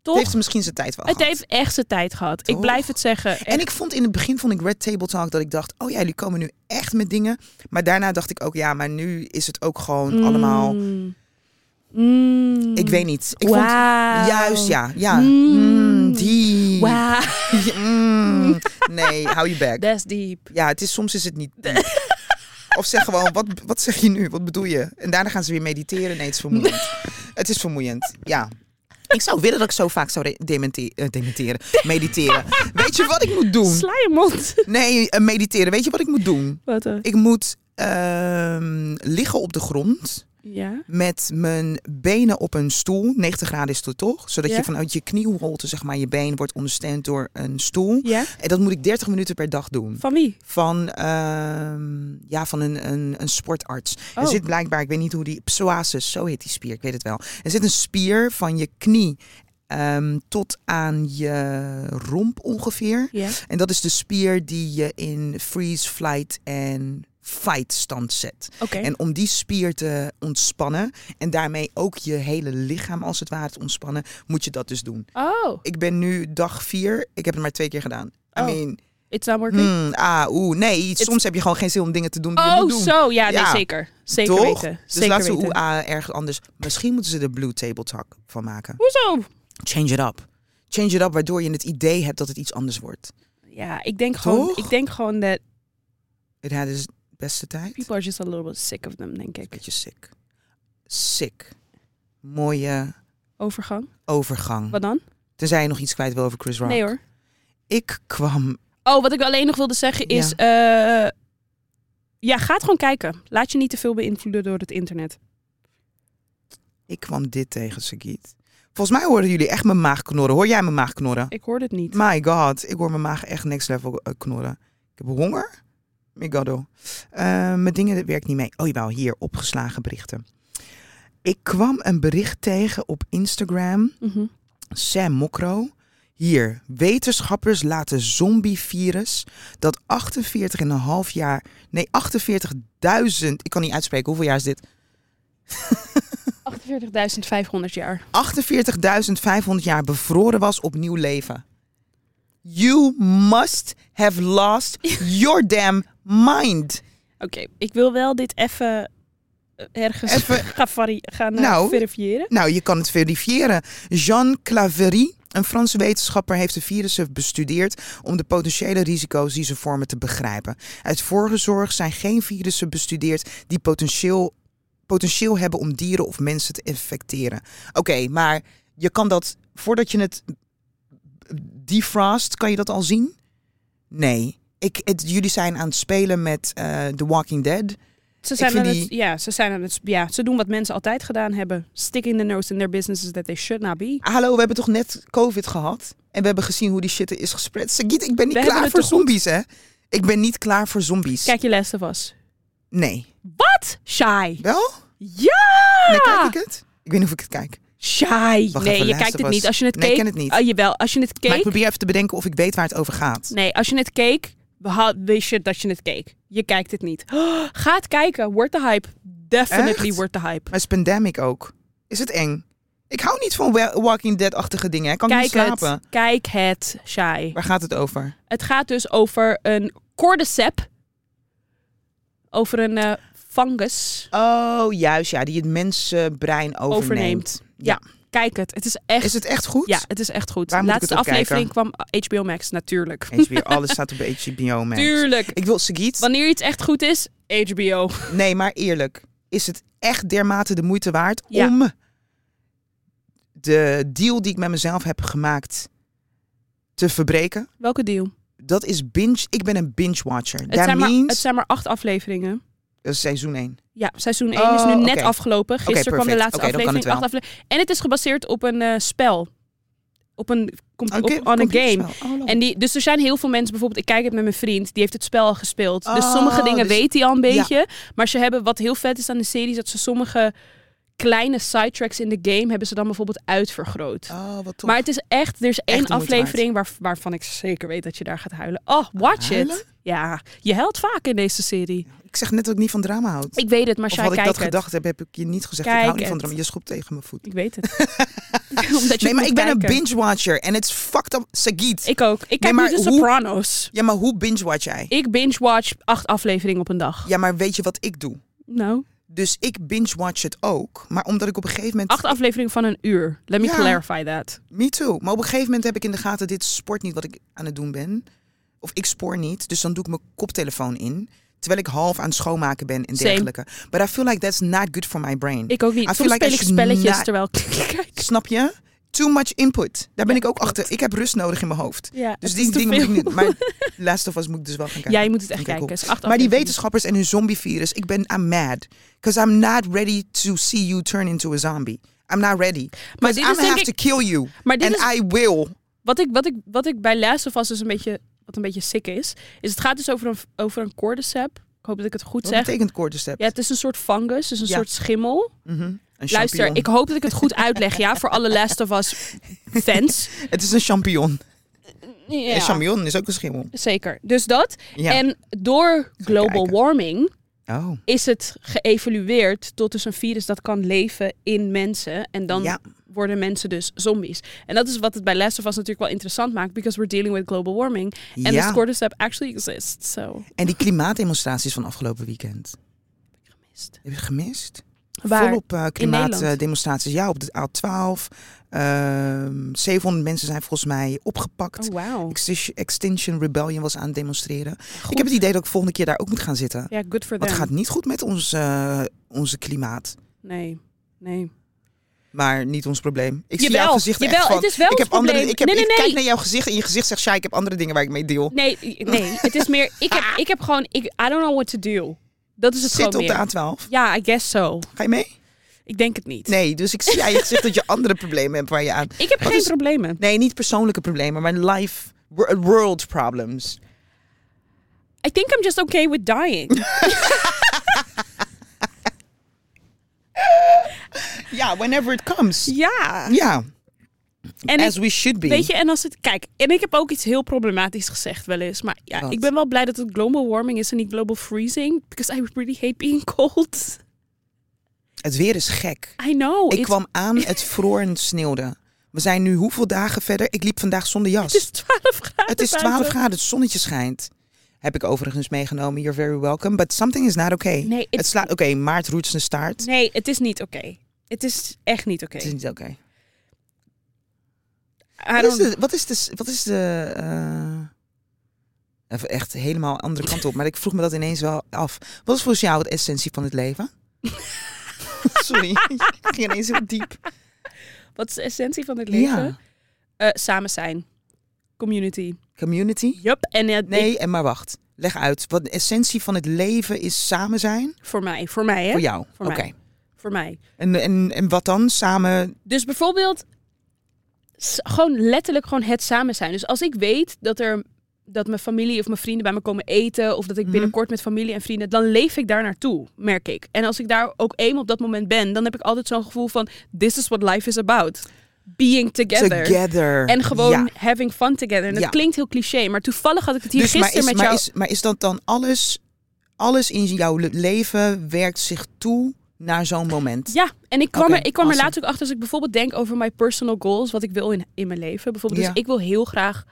A: Toch?
B: Het heeft misschien zijn tijd wel
A: het
B: gehad.
A: heeft echt zijn tijd gehad. Ik
B: Toch?
A: blijf het zeggen. Echt.
B: En ik vond in het begin vond ik Red Table Talk dat ik dacht, oh ja, jullie komen nu echt met dingen. Maar daarna dacht ik ook, ja, maar nu is het ook gewoon allemaal.
A: Mm. Mm.
B: Ik weet niet. Ik vond
A: Wauw.
B: juist ja, ja.
A: Mm.
B: Mm, die.
A: Wauw.
B: Mm. Nee, hou je back.
A: That's deep.
B: Ja, het is, soms is het niet. diep. Of zeg gewoon, wat, wat zeg je nu? Wat bedoel je? En daarna gaan ze weer mediteren. Nee, het is vermoeiend. Het is vermoeiend, ja. Ik zou willen dat ik zo vaak zou re- demente- eh, dementeren. Mediteren. Weet je wat ik moet doen?
A: Sla je mond.
B: Nee, eh, mediteren. Weet je wat ik moet doen?
A: Wat eh, een-
B: Ik moet ehm, liggen op de grond
A: Ja.
B: met mijn benen op een stoel. 90 graden is het toch? Zodat
A: Ja.
B: je vanuit je knieholte, zeg maar, je been wordt ondersteund door een stoel.
A: Ja.
B: En dat moet ik 30 minuten per dag doen
A: Van wie?
B: van, ehm, ja, van een, een, een sportarts.
A: Oh.
B: Er zit blijkbaar, ik weet niet hoe die, psoasis, zo heet die spier, ik weet het wel. Er zit een spier van je knie ehm, tot aan je romp ongeveer.
A: Ja.
B: En dat is de spier die je in freeze, flight en fight stand zet.
A: Oké.
B: En om die spier te ontspannen en daarmee ook je hele lichaam als het ware te ontspannen, moet je dat dus doen.
A: Oh,
B: Ik ben nu dag vier, ik heb het maar twee keer gedaan. I
A: Oh.
B: mean,
A: it's not working.
B: Hmm, ah, oeh, nee. Soms heb je gewoon geen zin om dingen te doen die je
A: oh,
B: moet doen.
A: zo. Ja, nee,
B: Ja.
A: zeker. Zeker
B: Toch?
A: weten.
B: Dus
A: Zeker
B: laat ze
A: weten.
B: oeh, ah, ergens anders. Misschien moeten ze er Blue Table Talk van maken.
A: Hoezo?
B: Change it up. Change it up, waardoor je het idee hebt dat het iets anders wordt.
A: Ja, ik denk gewoon,
B: Toch?
A: ik denk gewoon dat
B: Het had dus beste tijd.
A: people are just a little bit sick of them, denk ik.
B: Beetje sick. Sick. Mooie
A: Overgang.
B: overgang.
A: Wat dan?
B: Tenzij je nog iets kwijt wil over Chris Rock.
A: Nee hoor.
B: Ik kwam...
A: Oh, wat ik alleen nog wilde zeggen is, eh, ja, ga het gewoon kijken. Laat je niet te veel beïnvloeden door het internet.
B: Ik kwam dit tegen, Sagit. Volgens mij horen jullie echt mijn maag knorren. Hoor jij mijn maag knorren?
A: Ik hoorde het niet.
B: My god, ik hoor mijn maag echt next level eh, knorren. Ik heb honger. My god, oh. Eh, mijn dingen dat werkt niet mee. Oh jawel, hier, opgeslagen berichten. Ik kwam een bericht tegen op Instagram.
A: Mhm.
B: Sam Mokro. Hier, wetenschappers laten zombievirus dat 48,5 jaar... Nee, 48.000... Ik kan niet uitspreken, hoeveel jaar is dit?
A: 48.500 jaar.
B: 48.500 jaar bevroren was op nieuw leven. You must have lost your damn mind.
A: Oké, ik wil wel dit even eh, ergens
B: Even-
A: gaan, vari- gaan eh,
B: Nou.
A: verifiëren.
B: Nou, je kan het verifiëren. Jean Claverie, een Franse wetenschapper, heeft de virussen bestudeerd om de potentiële risico's die ze vormen te begrijpen. Uit voorgezorg zijn geen virussen bestudeerd die potentieel, potentieel hebben om dieren of mensen te infecteren. Oké, maar je kan dat voordat je het defrost, kan je dat al zien? Nee. Ik, het, jullie zijn aan het spelen met eh, The Walking Dead.
A: Ze zijn,
B: vind
A: aan het,
B: die-
A: ja, ze zijn aan het... Ja, ze doen wat mensen altijd gedaan hebben. Sticking the nose in their businesses that they should not be.
B: Hallo, we hebben toch net COVID gehad? En we hebben gezien hoe die shit er is gespreid. Sagiet, ik ben niet
A: We hebben
B: klaar
A: het
B: voor
A: toch goed?
B: zombies, hè? Ik ben niet klaar voor zombies.
A: Kijk je les was.
B: Nee.
A: Wat? Shy.
B: Wel?
A: Ja!
B: Nee, kijk ik het? Ik weet niet of ik het kijk.
A: Shy.
B: Wacht
A: nee,
B: even,
A: je
B: Last
A: kijkt
B: of
A: het
B: Us.
A: niet. Als je het
B: Nee, ik
A: keek...
B: ken het niet.
A: Ah, jawel, als je het
B: Maar ik
A: keek...
B: probeer even te bedenken of ik weet waar het over gaat.
A: Nee, als je het keek, beha- wist je dat je het keek. Je kijkt het niet. ga het kijken. Wordt de hype. Definitely
B: Echt?
A: wordt de hype.
B: Maar is pandemic ook? Is het eng? Ik hou niet van wa- Walking Dead-achtige dingen. hè. Ik kan
A: Kijk
B: niet slapen.
A: het. Kijk het, Shai.
B: Waar gaat het over?
A: Het gaat dus over een cordycep. Over een eh, fungus.
B: Oh, juist, ja. Die het mensenbrein overneemt.
A: Overneemt.
B: Ja.
A: Kijk het. Het is echt...
B: Is het echt goed?
A: Ja, het is echt goed.
B: Waar moet ik
A: Laatste
B: het op
A: aflevering kwam HBO Max, natuurlijk.
B: HBO, alles staat op HBO, man.
A: Tuurlijk.
B: Ik wil Sagiet.
A: Wanneer iets echt goed is, HBO.
B: Nee, maar eerlijk. Is het echt dermate de moeite waard
A: Ja.
B: om de deal die ik met mezelf heb gemaakt te verbreken?
A: Welke deal?
B: Dat is binge. Ik ben een binge-watcher.
A: Het
B: Dat
A: zijn, maar,
B: means...
A: het zijn maar acht afleveringen.
B: Dat is seizoen 1.
A: Ja, seizoen 1 is nu
B: Oh,
A: net
B: oké.
A: afgelopen. Gisteren kwam de
B: perfect.
A: laatste
B: Oké, dan kan
A: aflevering,
B: het
A: acht afle- En het is gebaseerd op een eh, spel. Op een, compu- op- on a game.
B: Oh,
A: En die, dus er zijn heel veel mensen, bijvoorbeeld, ik kijk het met mijn vriend, die heeft het spel al gespeeld. dus
B: Oh,
A: sommige dingen
B: dus-
A: weet hij al een
B: ja.
A: beetje. Maar ze hebben, wat heel vet is aan de serie, is dat ze sommige kleine sidetracks in de game hebben ze dan bijvoorbeeld uitvergroot.
B: Oh, wat tof.
A: Maar het is echt, er is één
B: de moeite
A: aflevering waar, waarvan ik zeker weet dat je daar gaat huilen. Oh, watch
B: Huilen?
A: it. Ja, je huilt vaak in deze serie.
B: Ik zeg net dat ik niet van drama houd.
A: Ik weet het, maar
B: of
A: Shai,
B: had ik
A: kijk
B: dat
A: het.
B: gedacht heb, heb ik je niet gezegd. ik
A: Kijk
B: hou niet van
A: het.
B: drama. Je schopt tegen mijn voet.
A: Ik weet het. Omdat je
B: Nee, maar ik ben
A: een
B: een binge-watcher. En it's fucked up. Sagiet.
A: Ik ook. Ik kijk
B: maar
A: nu de
B: hoe-
A: Sopranos.
B: Ja, maar hoe binge-watch jij?
A: Ik binge-watch acht afleveringen op een dag.
B: Ja, maar weet je wat ik doe?
A: Nou,
B: Dus ik binge-watch het ook. Maar omdat ik op een gegeven moment...
A: acht afleveringen van een uur. Let me
B: Ja.
A: clarify that.
B: Me too. Maar op een gegeven moment heb ik in de gaten... dit is sport niet wat ik aan het doen ben. Of ik spoor niet. Dus dan doe ik mijn koptelefoon in. Terwijl ik half aan het schoonmaken ben en
A: Same.
B: dergelijke. But I feel like that's not good for my brain.
A: Ik ook niet.
B: I feel
A: Soms
B: like
A: speel
B: I
A: ik
B: should
A: spelletjes
B: not-
A: terwijl ik kijk.
B: Snap je? Too much input. Daar ben
A: Ja,
B: ik ook
A: klopt.
B: achter. Ik heb rust nodig in mijn hoofd.
A: Ja,
B: Dus
A: het is
B: die
A: te
B: dingen moet ik
A: veel.
B: niet... Maar Last of Us moet ik dus wel gaan kijken.
A: Ja, je moet het echt
B: Oké, cool.
A: kijken. Het is acht
B: Maar die
A: afleveringen.
B: wetenschappers en hun zombievirus, ik ben I'm mad. Because I'm not ready to see you turn into a zombie. I'm not ready.
A: Maar
B: But
A: dit
B: I'm
A: is
B: gonna
A: denk
B: have
A: ik-
B: to kill you.
A: Maar dit
B: And
A: is
B: I will.
A: wat ik, wat, ik, wat ik bij Last of Us dus een beetje, wat een beetje sick is. Is het gaat dus over een, over een cordycep. Ik hoop dat ik het goed
B: Wat
A: zeg.
B: betekent cordyceps?
A: Ja, het is een soort fungus, dus een
B: Ja.
A: soort schimmel.
B: Mhm. Een champignon.
A: Luister, ik hoop dat ik het goed uitleg, ja, voor alle Last of Us fans.
B: Het is een champignon. Een
A: Ja,
B: champignon is ook een schimmel.
A: zeker. Dus dat.
B: Ja.
A: En door global
B: kijken.
A: warming
B: oh.
A: is het geëvolueerd tot dus een virus dat kan leven in mensen. En dan
B: Ja.
A: worden mensen dus zombies. En dat is wat het bij Last of Us natuurlijk wel interessant maakt, because we're dealing with global warming. En
B: Ja.
A: this cordyceps actually exists, so...
B: En die klimaatdemonstraties van afgelopen weekend.
A: Gemist.
B: Heb je het gemist?
A: Waar?
B: Volop eh,
A: Nederland?
B: klimaatdemonstraties. Ja, op de A12. Ehm 700 mensen zijn volgens mij opgepakt.
A: Oh, wauw.
B: Extin- Extinction Rebellion was aan het demonstreren. Ik heb het idee dat ik volgende keer daar ook moet gaan zitten.
A: Ja, good for
B: Want
A: them.
B: het gaat niet goed met ons, eh, onze klimaat.
A: Nee, nee.
B: Maar niet ons probleem. Ik zie
A: Jawel,
B: jouw gezicht
A: jawel,
B: echt van...
A: het is wel
B: ik
A: ons
B: heb andere,
A: probleem.
B: ik, heb,
A: Nee, nee,
B: ik kijk
A: nee.
B: naar jouw gezicht en je gezicht zegt... Sja, ik heb andere dingen waar ik mee deel.
A: Nee, nee. het is meer. Ik heb, ik heb gewoon. Ik, I don't know what to do. Dat is het
B: Zit op
A: gewoon. meer.
B: de A12.
A: Ja, I guess so.
B: Ga je mee?
A: Ik denk het niet.
B: Nee, dus ik zie aan je gezicht dat je andere problemen hebt waar je aan...
A: Ik heb
B: Wat
A: geen
B: is-
A: problemen.
B: Nee, niet persoonlijke problemen, maar life... wor- World problems.
A: I think I'm just okay with dying.
B: Ja, whenever it comes. Ja,
A: ja. En
B: as
A: ik-
B: we should be.
A: weet je, en als het. Kijk, en ik heb ook iets heel problematisch gezegd wel eens. Maar ja,
B: Wat?
A: ik ben wel blij dat het global warming is en niet global freezing. Because I really hate being cold.
B: het Het weer is gek.
A: I know.
B: Ik
A: it's-
B: kwam aan, het vroor en het sneeuwde. We zijn nu hoeveel dagen verder? Ik liep vandaag zonder
A: Het
B: jas.
A: is 12 graden.
B: Het is 12
A: buiten.
B: graden, het zonnetje schijnt. Heb ik overigens meegenomen. You're very welcome. But something is not okay.
A: Nee,
B: het
A: het,
B: slaat oké, maart roet zijn staart.
A: nee, het is niet oké. Het is echt niet oké.
B: Het is niet oké.
A: I
B: Wat is
A: don't-
B: de. Wat is de, wat is de eh, even echt helemaal andere kant op. Maar ik vroeg me dat ineens wel af. Wat is volgens jou de essentie van het leven? Sorry, ik ging ineens heel diep.
A: Wat is de essentie van het leven?
B: Ja.
A: Eh, samen zijn. Community.
B: Community?
A: Yup. En eh, ik-
B: Nee, en maar wacht. Leg uit. Wat de essentie van het leven is samen zijn?
A: voor mij. Voor mij, hè?
B: Voor jou.
A: Voor
B: Oké.
A: mij. Voor mij.
B: En, en, en wat dan? Samen.
A: Dus bijvoorbeeld, s- gewoon letterlijk gewoon het samen zijn. Dus als ik weet dat er dat mijn familie of mijn vrienden bij me komen eten of dat ik
B: Mhm.
A: binnenkort met familie en vrienden, dan leef ik daar naartoe, merk ik. En als ik daar ook eenmaal op dat moment ben, dan heb ik altijd zo'n gevoel van this is what life is about. Being together.
B: Together.
A: En gewoon
B: Ja.
A: having fun together. En dat
B: Ja.
A: klinkt heel cliché, maar toevallig had ik het hier
B: Dus, maar,
A: gisteren
B: is,
A: met
B: maar,
A: jou.
B: is, maar is dat dan alles, alles in jouw le- leven werkt zich toe naar zo'n moment?
A: Ja, en ik kwam,
B: Oké,
A: er, ik kwam er
B: awesome.
A: laatst ook achter als ik bijvoorbeeld denk over mijn personal goals, wat ik wil in, in mijn leven. Bijvoorbeeld,
B: Ja.
A: dus ik wil heel graag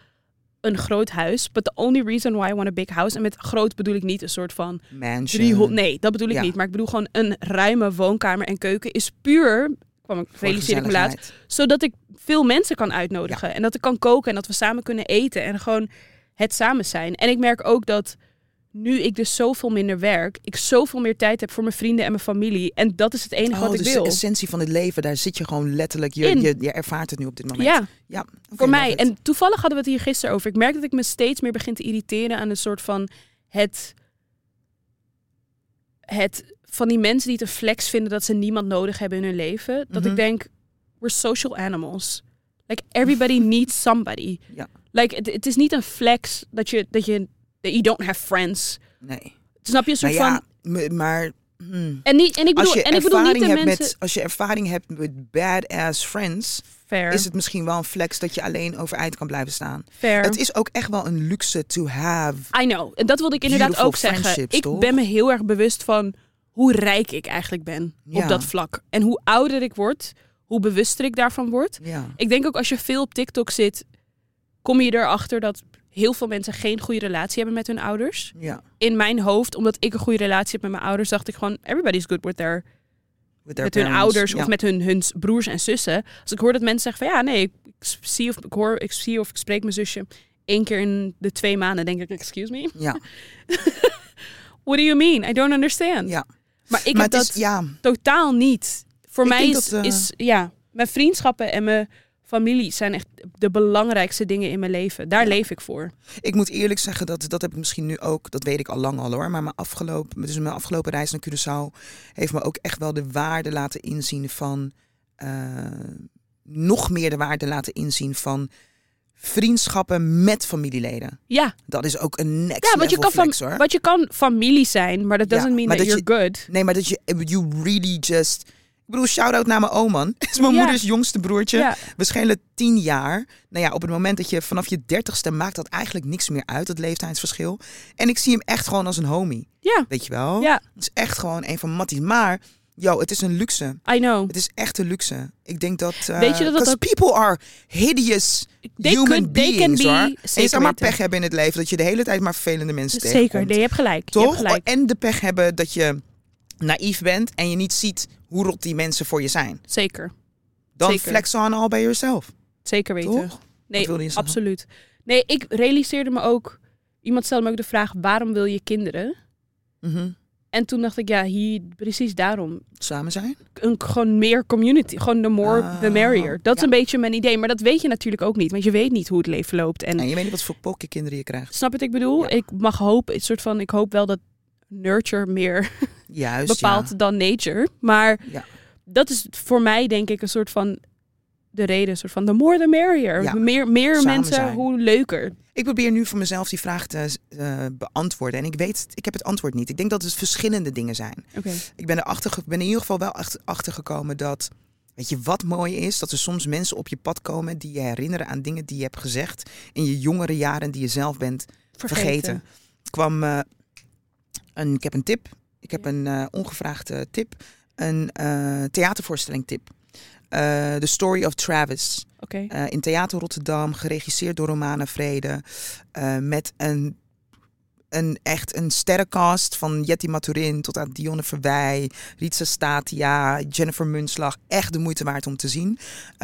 A: een groot huis. But the only reason why I want a big house. En met groot bedoel ik niet een soort van
B: Mansion.
A: 300. Nee, dat bedoel ik
B: Ja.
A: niet. Maar ik bedoel gewoon een ruime woonkamer en keuken is puur. kwam ik,
B: Voor
A: realiseer ik me laatst.
B: gezelligheid.
A: Zodat ik veel mensen kan uitnodigen. En dat ik kan koken en dat we samen kunnen eten. En gewoon het samen zijn. En ik merk ook dat nu ik dus zoveel minder werk, ik zoveel meer tijd heb voor mijn vrienden en mijn familie. En dat is het enige
B: Oh,
A: wat ik
B: dus
A: wil.
B: de essentie van het leven, daar zit je gewoon letterlijk, je,
A: In.
B: je, je ervaart het nu op dit moment.
A: Ja,
B: Ja, oké,
A: voor mij.
B: love it.
A: En toevallig hadden we het hier gisteren over. Ik merk dat ik me steeds meer begin te irriteren aan een soort van het. Het van die mensen die het een flex vinden dat ze niemand nodig hebben in hun leven. Dat
B: Mhm.
A: ik denk, we're social animals. Like everybody needs somebody.
B: Ja.
A: Like het, het is niet een flex dat je dat je that you don't have friends.
B: Nee.
A: Snap je een soort
B: Nou ja,
A: van?
B: m- maar... hmm.
A: En niet en ik
B: Als
A: bedoel
B: je,
A: en ik bedoel niet
B: ervaring
A: de
B: hebt
A: mensen.
B: met, als je ervaring hebt met badass friends,
A: fair,
B: is het misschien wel een flex dat je alleen overeind kan blijven staan.
A: fair.
B: Het is ook echt wel een luxe to have.
A: I know. En dat wilde ik inderdaad
B: Beautiful
A: ook zeggen.
B: friendships,
A: Ik
B: toch?
A: ben me heel erg bewust van hoe rijk ik eigenlijk ben
B: Ja.
A: op dat vlak. En hoe ouder ik word, hoe bewuster ik daarvan word.
B: Ja.
A: Ik denk ook als je veel op TikTok zit, kom je erachter dat heel veel mensen geen goede relatie hebben met hun ouders.
B: Ja.
A: In mijn hoofd, omdat ik een goede relatie heb met mijn ouders, dacht ik gewoon, everybody's good with their
B: With their
A: met hun
B: parents.
A: ouders
B: Ja.
A: of met hun, hun broers en zussen. Als ik hoor dat mensen zeggen van ja, nee, ik s- zie of ik hoor, ik zie of ik spreek mijn zusje één keer in de twee maanden, denk ik, excuse me.
B: Ja,
A: What do you mean? I don't understand.
B: ja.
A: Maar ik
B: maar
A: heb
B: het
A: dat
B: is, ja,
A: totaal niet. Voor
B: Ik
A: mij
B: denk
A: is,
B: dat, eh,
A: is ja, mijn vriendschappen en mijn familie zijn echt de belangrijkste dingen in mijn leven. Daar leef ik voor.
B: ik moet eerlijk zeggen dat dat heb ik misschien nu ook, dat weet ik al lang al hoor, maar mijn afgelopen, dus mijn afgelopen reis naar Curaçao heeft me ook echt wel de waarde laten inzien van, eh, nog meer de waarde laten inzien van vriendschappen met familieleden.
A: Ja,
B: Dat is ook een next
A: ja want, je
B: level
A: kan fam-
B: flex hoor.
A: want je kan familie zijn, maar dat
B: Ja,
A: doesn't mean
B: maar
A: that
B: dat
A: you're good.
B: Nee, maar dat je, eh, you really just, ik bedoel, shout-out naar mijn oom man, is mijn
A: Ja.
B: moeders jongste broertje.
A: Ja,
B: waarschijnlijk tien jaar. Nou ja, op het moment dat je vanaf je dertigste maakt dat eigenlijk niks meer uit, dat leeftijdsverschil. En ik zie hem echt gewoon als een homie.
A: ja,
B: Weet je wel?
A: ja,
B: Het is echt gewoon een van Matties. Maar, yo, het is een luxe.
A: I know.
B: Het is echt een luxe. Ik denk dat... eh,
A: Weet je dat dat
B: 'cause people are hideous
A: They
B: human
A: could- they
B: beings,
A: can be-
B: hoor. En je
A: zeker
B: zou maar
A: weten.
B: pech hebben in het leven dat je de hele tijd maar vervelende mensen
A: Zeker,
B: tegenkomt.
A: nee, je hebt gelijk. Je hebt
B: Toch? Oh,
A: gelijk.
B: En de pech hebben dat je naïef bent en je niet ziet hoe rot die mensen voor je zijn.
A: Zeker,
B: Dan
A: Zeker.
B: flex on all by yourself.
A: zeker weten.
B: Toch? Wat
A: Nee,
B: wilde je zeggen?
A: absoluut. Nee, ik realiseerde me ook... Iemand stelde me ook de vraag, waarom wil je kinderen?
B: Mhm.
A: En toen dacht ik, ja, hier, precies daarom.
B: Samen zijn?
A: een, gewoon meer community. Gewoon the more, the
B: Ah,
A: merrier. Dat is
B: ja.
A: een beetje mijn idee. Maar dat weet je natuurlijk ook niet. Want je weet niet hoe het leven loopt. En
B: En je weet niet wat voor pokken kinderen je krijgt.
A: snap je wat ik bedoel?
B: Ja.
A: Ik mag hopen, een soort van, ik hoop wel dat nurture meer
B: Juist.
A: bepaalt
B: Dus, ja.
A: dan nature. Maar
B: Ja.
A: dat is voor mij denk ik een soort van de reden. Een soort van the more the merrier.
B: Ja.
A: Meer, meer
B: Samen
A: mensen,
B: zijn.
A: hoe leuker.
B: Ik probeer nu voor mezelf die vraag te eh, beantwoorden. En ik weet, het- ik heb het antwoord niet. Ik denk dat het verschillende dingen zijn.
A: Oké.
B: Ik ben, erachter, ge- ben in ieder geval wel achter- achtergekomen dat. Weet je wat mooi is? Dat er soms mensen op je pad komen die je herinneren aan dingen die je hebt gezegd in je jongere jaren die je zelf bent vergeten. Er kwam eh, een, ik heb een tip. Ik heb
A: Ja.
B: een eh, ongevraagde tip. een eh, theatervoorstelling tip. Eh, The Story of Travis.
A: Oké.
B: Eh, in Theater Rotterdam, geregisseerd door Romana Vrede. eh, met een, een echt een sterrencast van Jetty Maturin tot aan Dionne Verwij, Ritsa Statia, Jennifer Munslag. Echt de moeite waard om te zien.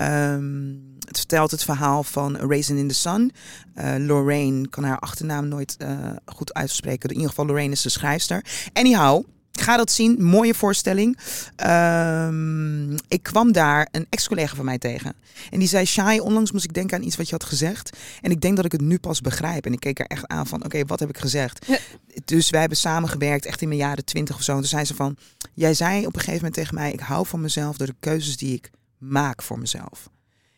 B: Ehm, het vertelt het verhaal van A Raisin in the Sun. Eh, Lorraine kan haar achternaam nooit eh, goed uitspreken. In ieder geval, Lorraine is de schrijfster. Anyhow. Ga dat zien, mooie voorstelling. Ehm, ik kwam daar een ex-collega van mij tegen. En die zei, Shai, onlangs moest ik denken aan iets wat je had gezegd. En ik denk dat ik het nu pas begrijp. En ik keek er echt aan van, oké, wat heb ik gezegd?
A: Ja.
B: Dus wij hebben samengewerkt, echt in mijn jaren twintig of zo. En toen zei ze van, jij zei op een gegeven moment tegen mij... ik hou van mezelf door de keuzes die ik maak voor mezelf.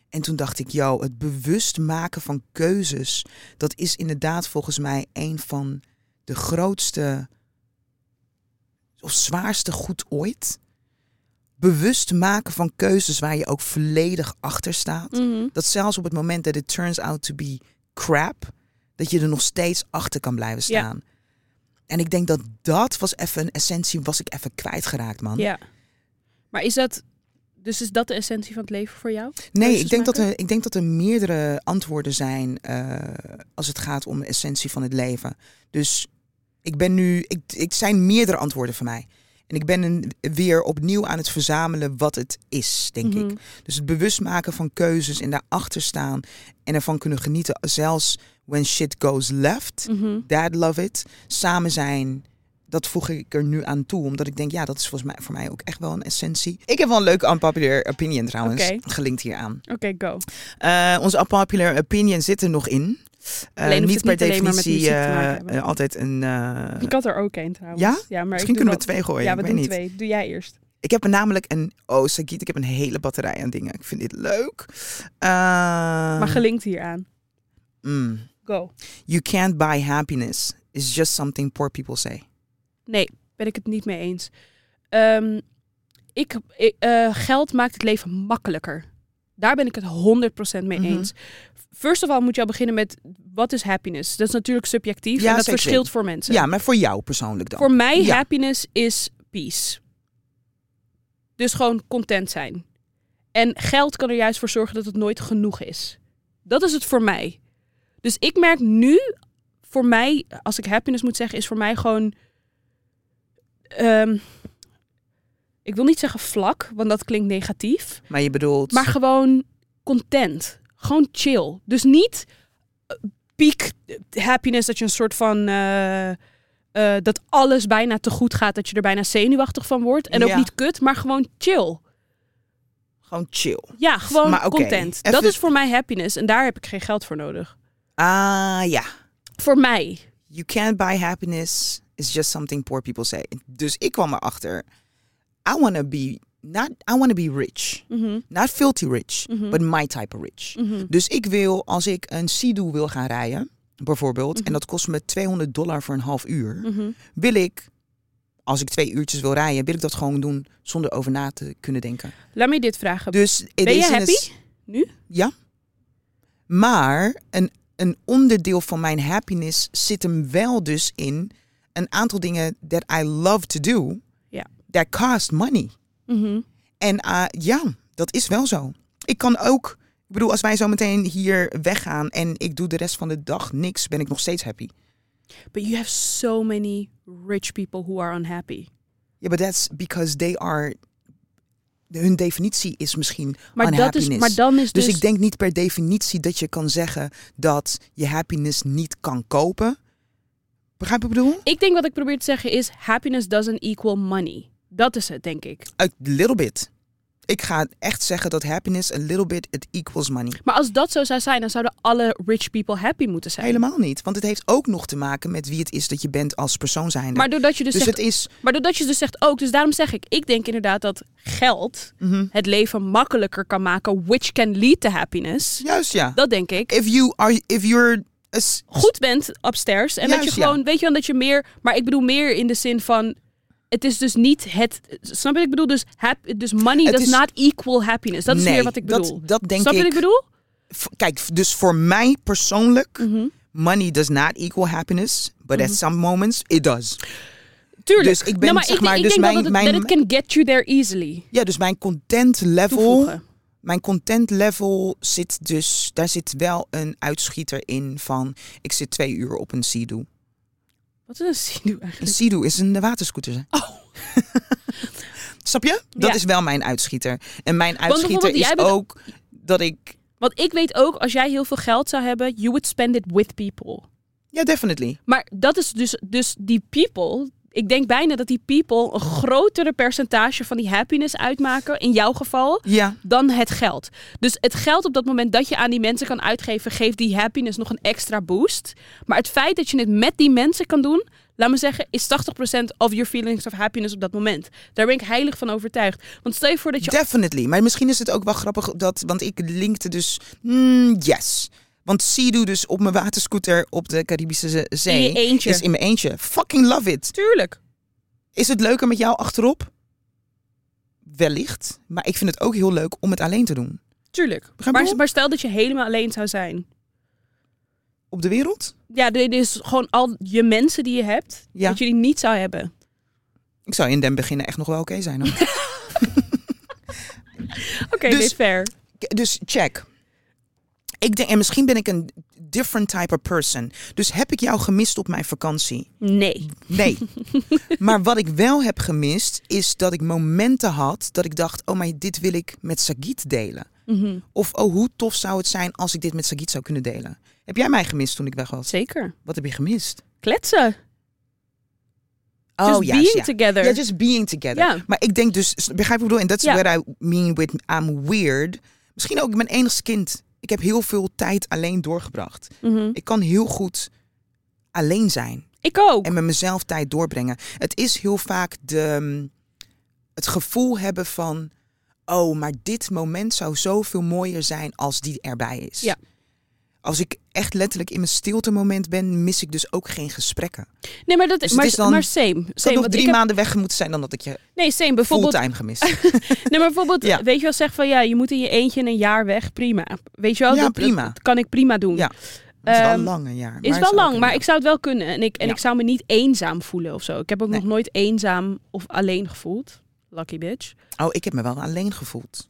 B: En toen dacht ik, yo, het bewust maken van keuzes... dat is inderdaad volgens mij een van de grootste... of zwaarste goed ooit bewust maken van keuzes waar je ook volledig achter staat.
A: Mhm.
B: Dat zelfs op het moment dat it turns out to be crap, dat je er nog steeds achter kan blijven
A: Ja.
B: staan. En ik denk dat dat was even een essentie, was ik even kwijtgeraakt, man.
A: Ja. Maar is dat... Dus is dat de essentie van het leven voor jou?
B: nee, ik
A: keuzes
B: denk, dat
A: maken?
B: er, ik denk dat er meerdere antwoorden zijn eh, als het gaat om de essentie van het leven. Dus ik ben nu, ik, ik zijn meerdere antwoorden voor mij. En ik ben een, weer opnieuw aan het verzamelen wat het is, denk ik.
A: Mhm.
B: Dus het bewust maken van keuzes en daarachter staan en ervan kunnen genieten. Zelfs when shit goes left,
A: Mhm.
B: dad love it. Samen zijn, dat voeg ik er nu aan toe. Omdat ik denk, ja, dat is volgens mij voor mij ook echt wel een essentie. Ik heb wel een leuke unpopular opinion trouwens,
A: Oké.
B: gelinkt hieraan.
A: Oké, go.
B: Eh onze unpopular opinion zit er nog in. Eh,
A: Alleen hoeft het
B: niet per
A: niet alleen maar met
B: definitie
A: muziek te maken
B: eh,
A: hebben.
B: eh, altijd een... eh,
A: Ik had er ook één trouwens.
B: ja?
A: maar
B: misschien
A: ik doe
B: kunnen we
A: wel-
B: twee gooien,
A: Ja,
B: ik
A: we
B: weet
A: doen
B: niet.
A: twee. Doe jij eerst.
B: Ik heb er namelijk een... Oh, Sagiet, ik heb een hele batterij aan dingen. Ik vind dit leuk. Eh,
A: Maar gelinkt hieraan.
B: mm.
A: Go.
B: You can't buy happiness. It's just something poor people say.
A: Nee, ben ik het niet mee eens. Ehm, ik, ik- eh, geld maakt het leven makkelijker. Daar ben ik het 100% mee
B: Mhm.
A: eens. First of all moet je al beginnen met wat is happiness? Dat is natuurlijk subjectief
B: Ja,
A: en dat
B: zeker.
A: verschilt voor mensen.
B: Ja, maar voor jou persoonlijk dan.
A: Voor mij
B: Ja.
A: happiness is peace. Dus gewoon content zijn. En geld kan er juist voor zorgen dat het nooit genoeg is. Dat is het voor mij. Dus ik merk nu, voor mij, als ik happiness moet zeggen, is voor mij gewoon. ehm, ik wil niet zeggen vlak, want dat klinkt negatief.
B: Maar je bedoelt.
A: Maar gewoon content. Gewoon chill. Dus niet eh, piek happiness dat je een soort van... eh, eh, dat alles bijna te goed gaat, dat je er bijna zenuwachtig van wordt. En ook
B: Ja.
A: niet kut, maar gewoon chill.
B: gewoon chill.
A: Ja, gewoon
B: Maar oké,
A: content.
B: even- dus-
A: Dat is voor mij happiness en daar heb ik geen geld voor nodig.
B: Ah ja.
A: Voor mij.
B: You can't buy happiness. It's just something poor people say. Dus ik kwam erachter. I wanna be not. I wanna be rich.
A: Mhm,
B: Not filthy rich,
A: Mhm.
B: but my type of rich.
A: mhm.
B: Dus ik wil, als ik een Sea-Doo wil gaan rijden, bijvoorbeeld,
A: Mhm.
B: en dat kost me 200 dollar voor een half uur,
A: Mhm.
B: wil ik, als ik twee uurtjes wil rijden, wil ik dat gewoon doen zonder over na te kunnen denken.
A: Laat me je dit vragen.
B: Dus het
A: ben je
B: is in
A: happy
B: het-
A: nu?
B: maar een, een onderdeel van mijn happiness zit hem wel dus in een aantal dingen that I love to do.
A: Ja.
B: That cost money.
A: Mhm.
B: En eh, ja, dat is wel zo. Ik kan ook, ik bedoel, als wij zo meteen hier weggaan en ik doe de rest van de dag niks, ben ik nog steeds happy.
A: But you have so many rich people who are unhappy.
B: Ja, but that's because they are. Hun definitie is misschien
A: Maar, dat is,
B: unhappiness.
A: maar dan is dus...
B: Dus ik denk niet per definitie dat je kan zeggen dat je happiness niet kan kopen. Begrijp je wat ik bedoel?
A: Ik denk wat ik probeer te zeggen is: happiness doesn't equal money. Dat is het, denk ik.
B: A little bit. Ik ga echt zeggen dat happiness a little bit it equals money.
A: Maar als dat zo zou zijn, dan zouden alle rich people happy moeten zijn.
B: Helemaal niet, want het heeft ook nog te maken met wie het is dat je bent als persoon zijnde.
A: Maar doordat je dus,
B: dus
A: zegt,
B: het is
A: maar doordat je dus zegt ook, dus daarom zeg ik, ik denk inderdaad dat geld
B: mhm,
A: het leven makkelijker kan maken, which can lead to happiness.
B: juist ja.
A: Dat denk ik.
B: If you are if you're a s-
A: Goed bent upstairs en dat
B: Juist,
A: je gewoon,
B: ja.
A: weet je wel, dat je meer, maar ik bedoel meer in de zin van. Het is dus niet het. Snap je wat ik bedoel? Dus, hap, dus money
B: Het
A: does
B: is-
A: not equal happiness. Dat is
B: nee,
A: meer wat ik
B: dat-
A: bedoel.
B: Dat, denk
A: Snap je wat ik bedoel?
B: F- Kijk, f- dus voor mij
A: Mhm.
B: persoonlijk, money does not equal happiness, but at some moments it does.
A: tuurlijk.
B: Dus ik ben,
A: Nou, maar
B: zeg
A: ik,
B: maar,
A: ik
B: dus
A: denk
B: mijn,
A: dat, het,
B: mijn,
A: dat it can get you there easily.
B: ja, dus mijn content level,
A: Toevoegen.
B: mijn content level zit dus, daar zit wel een uitschieter in van, ik zit twee uur op een Sea-Doo.
A: Wat is een sinew
B: Een
A: eigenlijk?
B: Sea-Doo is een eh, waterscooter. hè?
A: Oh.
B: Snap je? Dat
A: Ja.
B: is wel mijn uitschieter. En mijn
A: bijvoorbeeld,
B: uitschieter is
A: jij bent-
B: ook dat ik,
A: Want ik weet ook, als jij heel veel geld zou hebben, you would spend it with people.
B: ja, definitely.
A: Maar dat is dus, dus die people. Ik denk bijna dat die people een grotere percentage van die happiness uitmaken, in jouw geval,
B: Ja,
A: dan het geld. Dus het geld op dat moment dat je aan die mensen kan uitgeven, geeft die happiness nog een extra boost. Maar het feit dat je het met die mensen kan doen, laat me zeggen, is 80% of your feelings of happiness op dat moment. Daar ben ik heilig van overtuigd. Want stel je voor dat je
B: Definitely. Maar misschien is het ook wel grappig dat, want ik linkte dus, mm, yes. Want Sea-Doo dus op mijn waterscooter op de Caribische ze-
A: in
B: Zee
A: je eentje.
B: is in mijn eentje. Fucking love it.
A: Tuurlijk.
B: Is het leuker met jou achterop? Wellicht. Maar ik vind het ook heel leuk om het alleen te doen.
A: Tuurlijk.
B: Begrijp je
A: Maar,
B: wel?
A: maar stel dat je helemaal alleen zou zijn.
B: Op de wereld?
A: Ja, dit is gewoon al je mensen die je hebt,
B: Ja.
A: dat je die niet zou hebben.
B: Ik zou in den beginnen echt nog wel oké zijn. hoor.
A: Oké,
B: Dus-
A: nee, fair.
B: K- dus check. Ik denk, en misschien ben ik een different type of person. Dus heb ik jou gemist op mijn vakantie?
A: Nee.
B: Nee. maar wat ik wel heb gemist, is dat ik momenten had dat ik dacht: oh, maar dit wil ik met Sagit delen.
A: Mhm.
B: Of oh, hoe tof zou het zijn als ik dit met Sagit zou kunnen delen? Heb jij mij gemist toen ik weg was?
A: Zeker.
B: Wat heb je gemist?
A: Kletsen.
B: Oh
A: Just
B: ja,
A: being
B: ja.
A: together.
B: Ja, just being together.
A: Ja.
B: Maar ik denk dus, begrijp je wat ik bedoel? En that's
A: Ja.
B: where I mean with I'm weird. Misschien ook mijn enigste kind. Ik heb heel veel tijd alleen doorgebracht.
A: Mhm.
B: Ik kan heel goed alleen zijn.
A: Ik ook.
B: en met mezelf tijd doorbrengen. Het is heel vaak de, mm, het gevoel hebben van... oh, maar dit moment zou zoveel mooier zijn als die erbij is.
A: Ja.
B: Als ik echt letterlijk in mijn stilte moment ben... mis ik dus ook geen gesprekken.
A: Nee, maar dat
B: Dus het
A: maar,
B: is dan-
A: maar same.
B: Ik had
A: same
B: nog
A: want ik
B: drie
A: heb-
B: maanden weg moeten zijn... dan dat ik je
A: Nee, same. Bijvoorbeeld,
B: fulltime gemist.
A: nee, maar bijvoorbeeld
B: Ja.
A: weet je wel, zeg van ja, je moet in je eentje in een jaar weg. Prima. Weet je wel?
B: Ja,
A: dat, dat-
B: prima.
A: Dat, kan ik prima doen.
B: Ja. Het is wel
A: Ehm,
B: lang een jaar. maar
A: Is
B: het
A: wel
B: zou
A: lang,
B: kunnen.
A: maar ik zou het wel kunnen. En ik, en
B: Ja.
A: ik zou me niet eenzaam voelen of zo. Ik heb ook
B: Nee.
A: nog nooit eenzaam of alleen gevoeld. Lucky bitch.
B: Oh, ik heb me wel alleen gevoeld.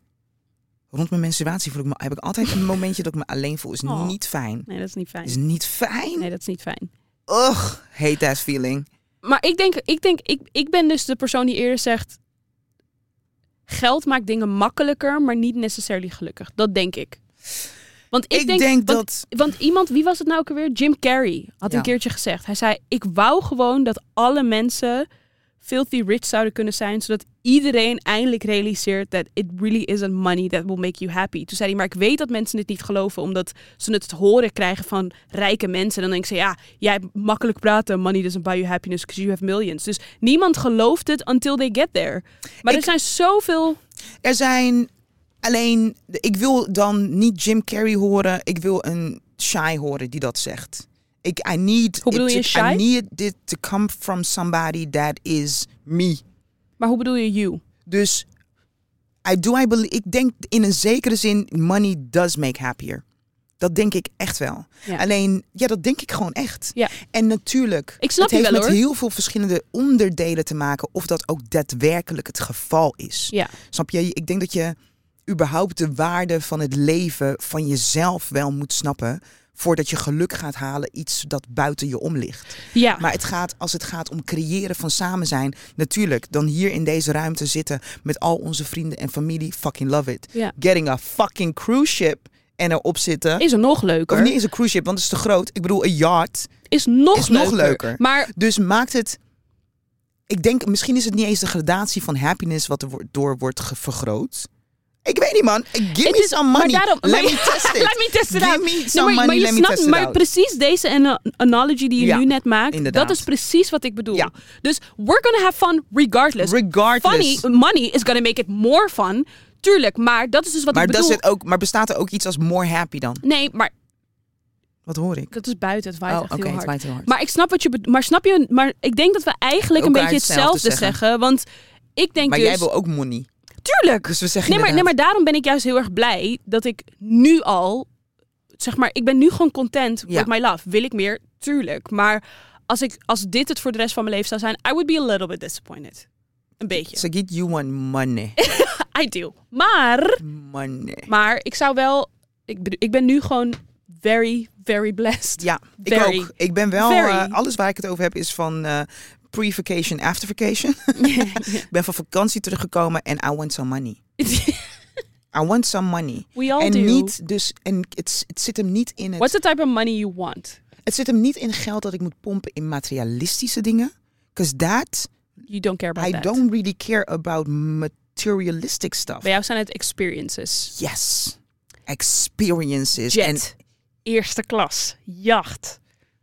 B: Rond mijn menstruatie voel ik me, heb ik altijd een momentje dat ik me alleen voel. Is
A: Oh.
B: niet fijn.
A: Nee, dat is niet fijn.
B: Is niet fijn.
A: Nee, dat is niet fijn.
B: Ugh, hate that feeling.
A: Maar ik denk, ik, denk ik, ik ben dus de persoon die eerder zegt... Geld maakt dingen makkelijker, maar niet necessarily gelukkig. Dat denk ik. Want ik,
B: Ik
A: denk, want-
B: denk dat-
A: Want iemand, wie was het nou ook alweer? Jim Carrey had
B: Ja.
A: een keertje gezegd. Hij zei, ik wou gewoon dat alle mensen filthy rich zouden kunnen zijn... zodat iedereen eindelijk realiseert that it really isn't money that will make you happy. Toen zei hij, maar ik weet dat mensen dit niet geloven... omdat ze het te horen krijgen van rijke mensen. En dan denk ik ze, ja, jij hebt makkelijk praten. Money doesn't buy you happiness because you have millions. Dus niemand gelooft het until they get there. Maar
B: Ik-
A: er zijn zoveel...
B: Er zijn alleen, ik wil dan niet Jim Carrey horen. Ik wil een shy horen die dat zegt. Ik, I need,
A: Hoe bedoel
B: it
A: je
B: to-
A: shy?
B: I need it to come from somebody that is me.
A: Maar hoe bedoel je you?
B: Dus I do, I believe, ik denk in een zekere zin, money does make happier. Dat denk ik echt wel.
A: Ja.
B: Alleen, ja, dat denk ik gewoon echt.
A: Ja.
B: En natuurlijk,
A: Ik snap
B: het
A: je
B: heeft
A: wel,
B: met
A: hoor.
B: heel veel verschillende onderdelen te maken of dat ook daadwerkelijk het geval is.
A: Ja.
B: Snap je? Ik denk dat je überhaupt de waarde van het leven van jezelf wel moet snappen. Voordat je geluk gaat halen, iets dat buiten je om ligt.
A: Ja.
B: Maar het gaat, als het gaat om creëren van samen zijn, natuurlijk, dan hier in deze ruimte zitten met al onze vrienden en familie, fucking love it.
A: Ja.
B: Getting a fucking cruise ship en erop zitten.
A: Is er nog leuker?
B: of niet eens een cruise ship, want het is te groot. Ik bedoel, een yacht.
A: is nog,
B: Is nog
A: leuker.
B: leuker.
A: Maar
B: Dus maakt het. Ik denk, misschien is het niet eens de gradatie van happiness wat er wo- door wordt ge- vergroot. Ik weet niet, man. Give
A: het
B: me
A: is
B: some money.
A: Maar daarom,
B: Let
A: maar-
B: me test
A: Let
B: it.
A: me test it
B: Give
A: out.
B: me
A: Nee,
B: some
A: maar,
B: money,
A: maar je
B: let me
A: snapt,
B: test it
A: maar
B: out.
A: precies deze ana- analogy die je
B: Ja,
A: nu net maakt,
B: inderdaad.
A: dat is precies wat ik bedoel.
B: Ja.
A: Dus we're gonna have fun regardless.
B: Regardless.
A: Funny, money is gonna make it more fun. Tuurlijk, maar dat is dus wat
B: maar,
A: ik
B: dat
A: bedoel.
B: zit ook, maar bestaat er ook iets als more happy dan?
A: Nee, maar
B: Wat hoor ik?
A: dat is buiten. Het waait
B: Oh,
A: echt
B: oké,
A: heel
B: het
A: hard.
B: waait heel hard.
A: Maar ik snap wat je bedoelt. Maar snap je? Maar ik denk dat we eigenlijk een
B: Elkaar
A: beetje hetzelfde,
B: hetzelfde
A: zeggen. want ik denk
B: Maar
A: dus.
B: jij wil ook money.
A: Tuurlijk.
B: Dus we zeggen
A: Nee maar, nee,
B: inderdaad-
A: maar daarom ben ik juist heel erg blij dat ik nu al, zeg maar, ik ben nu gewoon content
B: Ja.
A: with my love. Wil ik meer? Tuurlijk. Maar als, ik, als dit het voor de rest van mijn leven zou zijn, I would be a little bit disappointed. Een beetje.
B: Sagit, you want money.
A: I do. Maar,
B: Money.
A: maar ik zou wel, ik, bedoel, ik ben nu gewoon very, very blessed.
B: Ja, ik
A: Very.
B: ook. Ik ben wel,
A: Very.
B: eh, alles waar ik het over heb is van eh, pre-vacation, after vacation. ik ben van vakantie teruggekomen en I want some money. I want some money.
A: We all
B: en
A: do.
B: niet, dus, en het, het zit hem niet in het.
A: What's the type of money you want?
B: Het zit hem niet in geld dat ik moet pompen in materialistische dingen. Because that,
A: You don't care about
B: I
A: that.
B: don't really care about materialistic stuff.
A: Bij jou zijn het experiences.
B: Yes. Experiences.
A: Jet. Eerste klas. Jacht.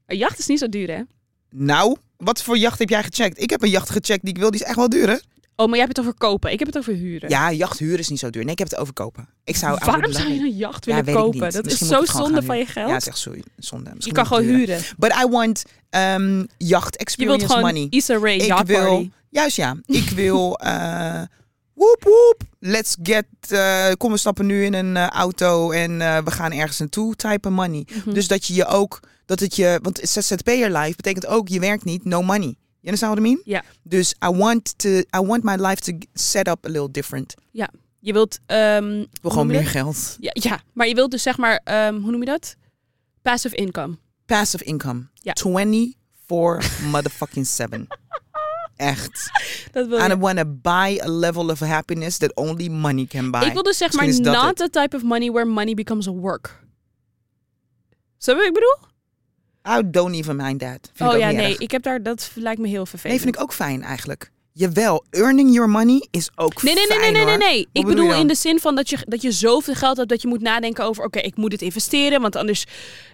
A: Een jacht is niet zo duur, hè?
B: En nou, wat voor jacht heb jij gecheckt? Ik heb een jacht gecheckt die ik wil, die is echt wel duur, hè?
A: Oh, maar jij hebt het over kopen. Ik heb het over huren.
B: Ja, jacht huren is niet zo duur. Nee, ik heb het over kopen. Ik zou I would
A: Waarom
B: love
A: zou je
B: it.
A: een jacht
B: Ja,
A: willen
B: weet ik
A: kopen?
B: niet.
A: Dat
B: Misschien
A: is
B: moet
A: zo
B: ik het gewoon
A: zonde
B: gaan
A: van je
B: huren.
A: geld.
B: Ja, het is echt zo- zonde. Misschien
A: je
B: moet
A: kan
B: ik
A: gewoon huren.
B: But I want ehm, jacht
A: Je wilt
B: experience
A: gewoon
B: money.
A: Issa Rae
B: ik
A: yacht
B: wil,
A: party.
B: Juist ja, ik wil... eh woep woep, let's get... eh, kom, we stappen nu in een eh, auto en eh, we gaan ergens naartoe. Type of money.
A: Mhm.
B: Dus dat je je ook... Dat het je, want ZZP'er life betekent ook je werkt niet, no money. You understand what I mean?
A: Ja.
B: Dus I want, to, I want my life to set up a little different. Ik
A: Je wilt... ehm,
B: wil
A: hoe
B: gewoon
A: noem je
B: meer
A: dat?
B: geld.
A: Ja, ja, maar je wilt dus zeg maar... ehm, hoe noem je dat? Passive income.
B: Passive income.
A: Ja.
B: 24 motherfucking 7. Echt.
A: Dat wil
B: I
A: je.
B: want to buy a level of happiness that only money can buy.
A: Ik wil dus zeg maar
B: Misschien is dat
A: not the type of money where money becomes a work. Zo wat ik bedoel?
B: I don't even mind that. Vind ik
A: oh
B: ook
A: ja,
B: niet
A: nee.
B: erg.
A: Ik heb daar... Dat lijkt me heel
B: Nee,
A: vervelend.
B: vind ik ook fijn eigenlijk. Jawel, earning your money is ook
A: Nee, nee, nee,
B: fijn
A: nee, nee, nee,
B: hoor.
A: nee.
B: Wat
A: Ik
B: bedoel je
A: bedoel
B: dan?
A: in de zin van dat je, dat je zoveel geld hebt dat je moet nadenken over: oké, ik moet dit investeren, want anders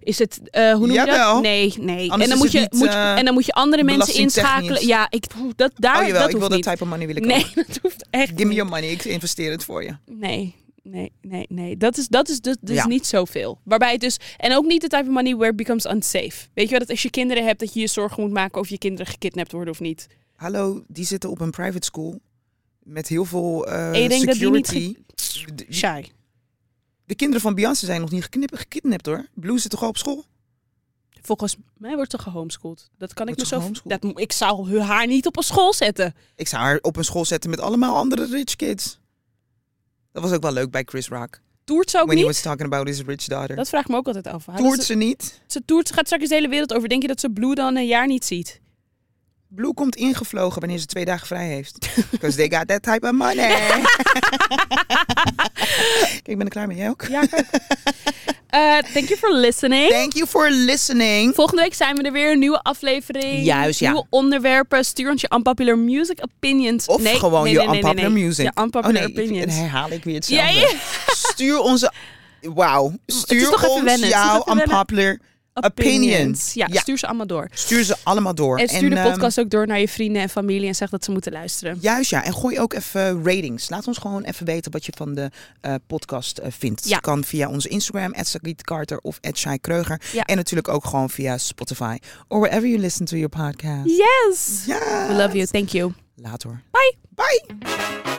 A: is het. eh, hoe noem je
B: Jawel.
A: dat? Nee, nee.
B: Anders
A: en, dan
B: is
A: moet je,
B: het niet,
A: moet je-
B: eh,
A: en dan moet je andere mensen
B: belastingtechnisch.
A: inschakelen. Ja, ik, dat, daar,
B: Oh jawel,
A: dat
B: ik wil
A: hoeft
B: dat
A: niet.
B: type of money wil ik
A: nee,
B: ook.
A: dat hoeft echt
B: Give me
A: niet.
B: your money, ik investeer het voor je.
A: Nee, nee, nee, nee. Dat is, dat is dus, dus
B: Ja.
A: niet zoveel. Waarbij het dus. En ook niet de type of money where it becomes unsafe. Weet je wel dat als je kinderen hebt, dat je je zorgen moet maken of je kinderen gekidnapt worden of niet.
B: Hallo, die zitten op een private school met heel veel eh,
A: En je denkt dat die niet
B: security. De- de-
A: Shy.
B: De kinderen van Beyoncé zijn nog niet geknip- gekidnapt hoor. Blue zit toch al op school?
A: Volgens mij wordt ze gehomeschoold. Dat kan
B: Wordt
A: ik
B: ze
A: me zo...
B: gehomeschoold?
A: Dat, mo- ik zou hu- haar niet op een school zetten.
B: Ik zou haar op een school zetten met allemaal andere rich kids. Dat was ook wel leuk bij Chris Rock.
A: Toert ze ook
B: When he
A: niet?
B: was talking about his rich daughter.
A: Dat vraag ik me ook altijd af. Hadden
B: Toert
A: ze,
B: ze niet.
A: ze toert, ze gaat straks de hele wereld over. Denk je dat ze Blue dan een jaar niet ziet?
B: Blue komt ingevlogen wanneer ze twee dagen vrij heeft. Because they got that type of money. Kijk, ik ben er klaar mee. Jij ook?
A: Ja, kijk. Eh, Thank you for listening.
B: Thank you for listening.
A: Volgende week zijn we er weer. Een nieuwe aflevering.
B: Juist, ja.
A: Nieuwe onderwerpen. Stuur ons je unpopular music opinions.
B: Of
A: Nee,
B: gewoon
A: nee,
B: je
A: nee, nee, nee,
B: unpopular
A: nee.
B: music.
A: Je unpopular
B: oh, nee, ik- Dan
A: opinions.
B: herhaal ik weer hetzelfde.
A: Ja, ja.
B: Stuur onze... Wauw. Stuur
A: toch even
B: ons
A: wennen, het is
B: jouw
A: toch even
B: unpopular opinions.
A: Ja, stuur ze allemaal door.
B: Stuur ze allemaal door.
A: En stuur de
B: ehm,
A: podcast ook door naar je vrienden en familie en zeg dat ze moeten luisteren.
B: Juist ja, en gooi ook even ratings. Laat ons gewoon even weten wat je van de eh, podcast eh, vindt.
A: Ja.
B: Kan via onze Instagram, @sagietkarter of @shai_kreuger
A: Ja.
B: En natuurlijk ook gewoon via Spotify. Or wherever you listen to your podcast.
A: Yes!
B: Ja.
A: We love you. Thank you.
B: Later.
A: Bye.
B: Bye.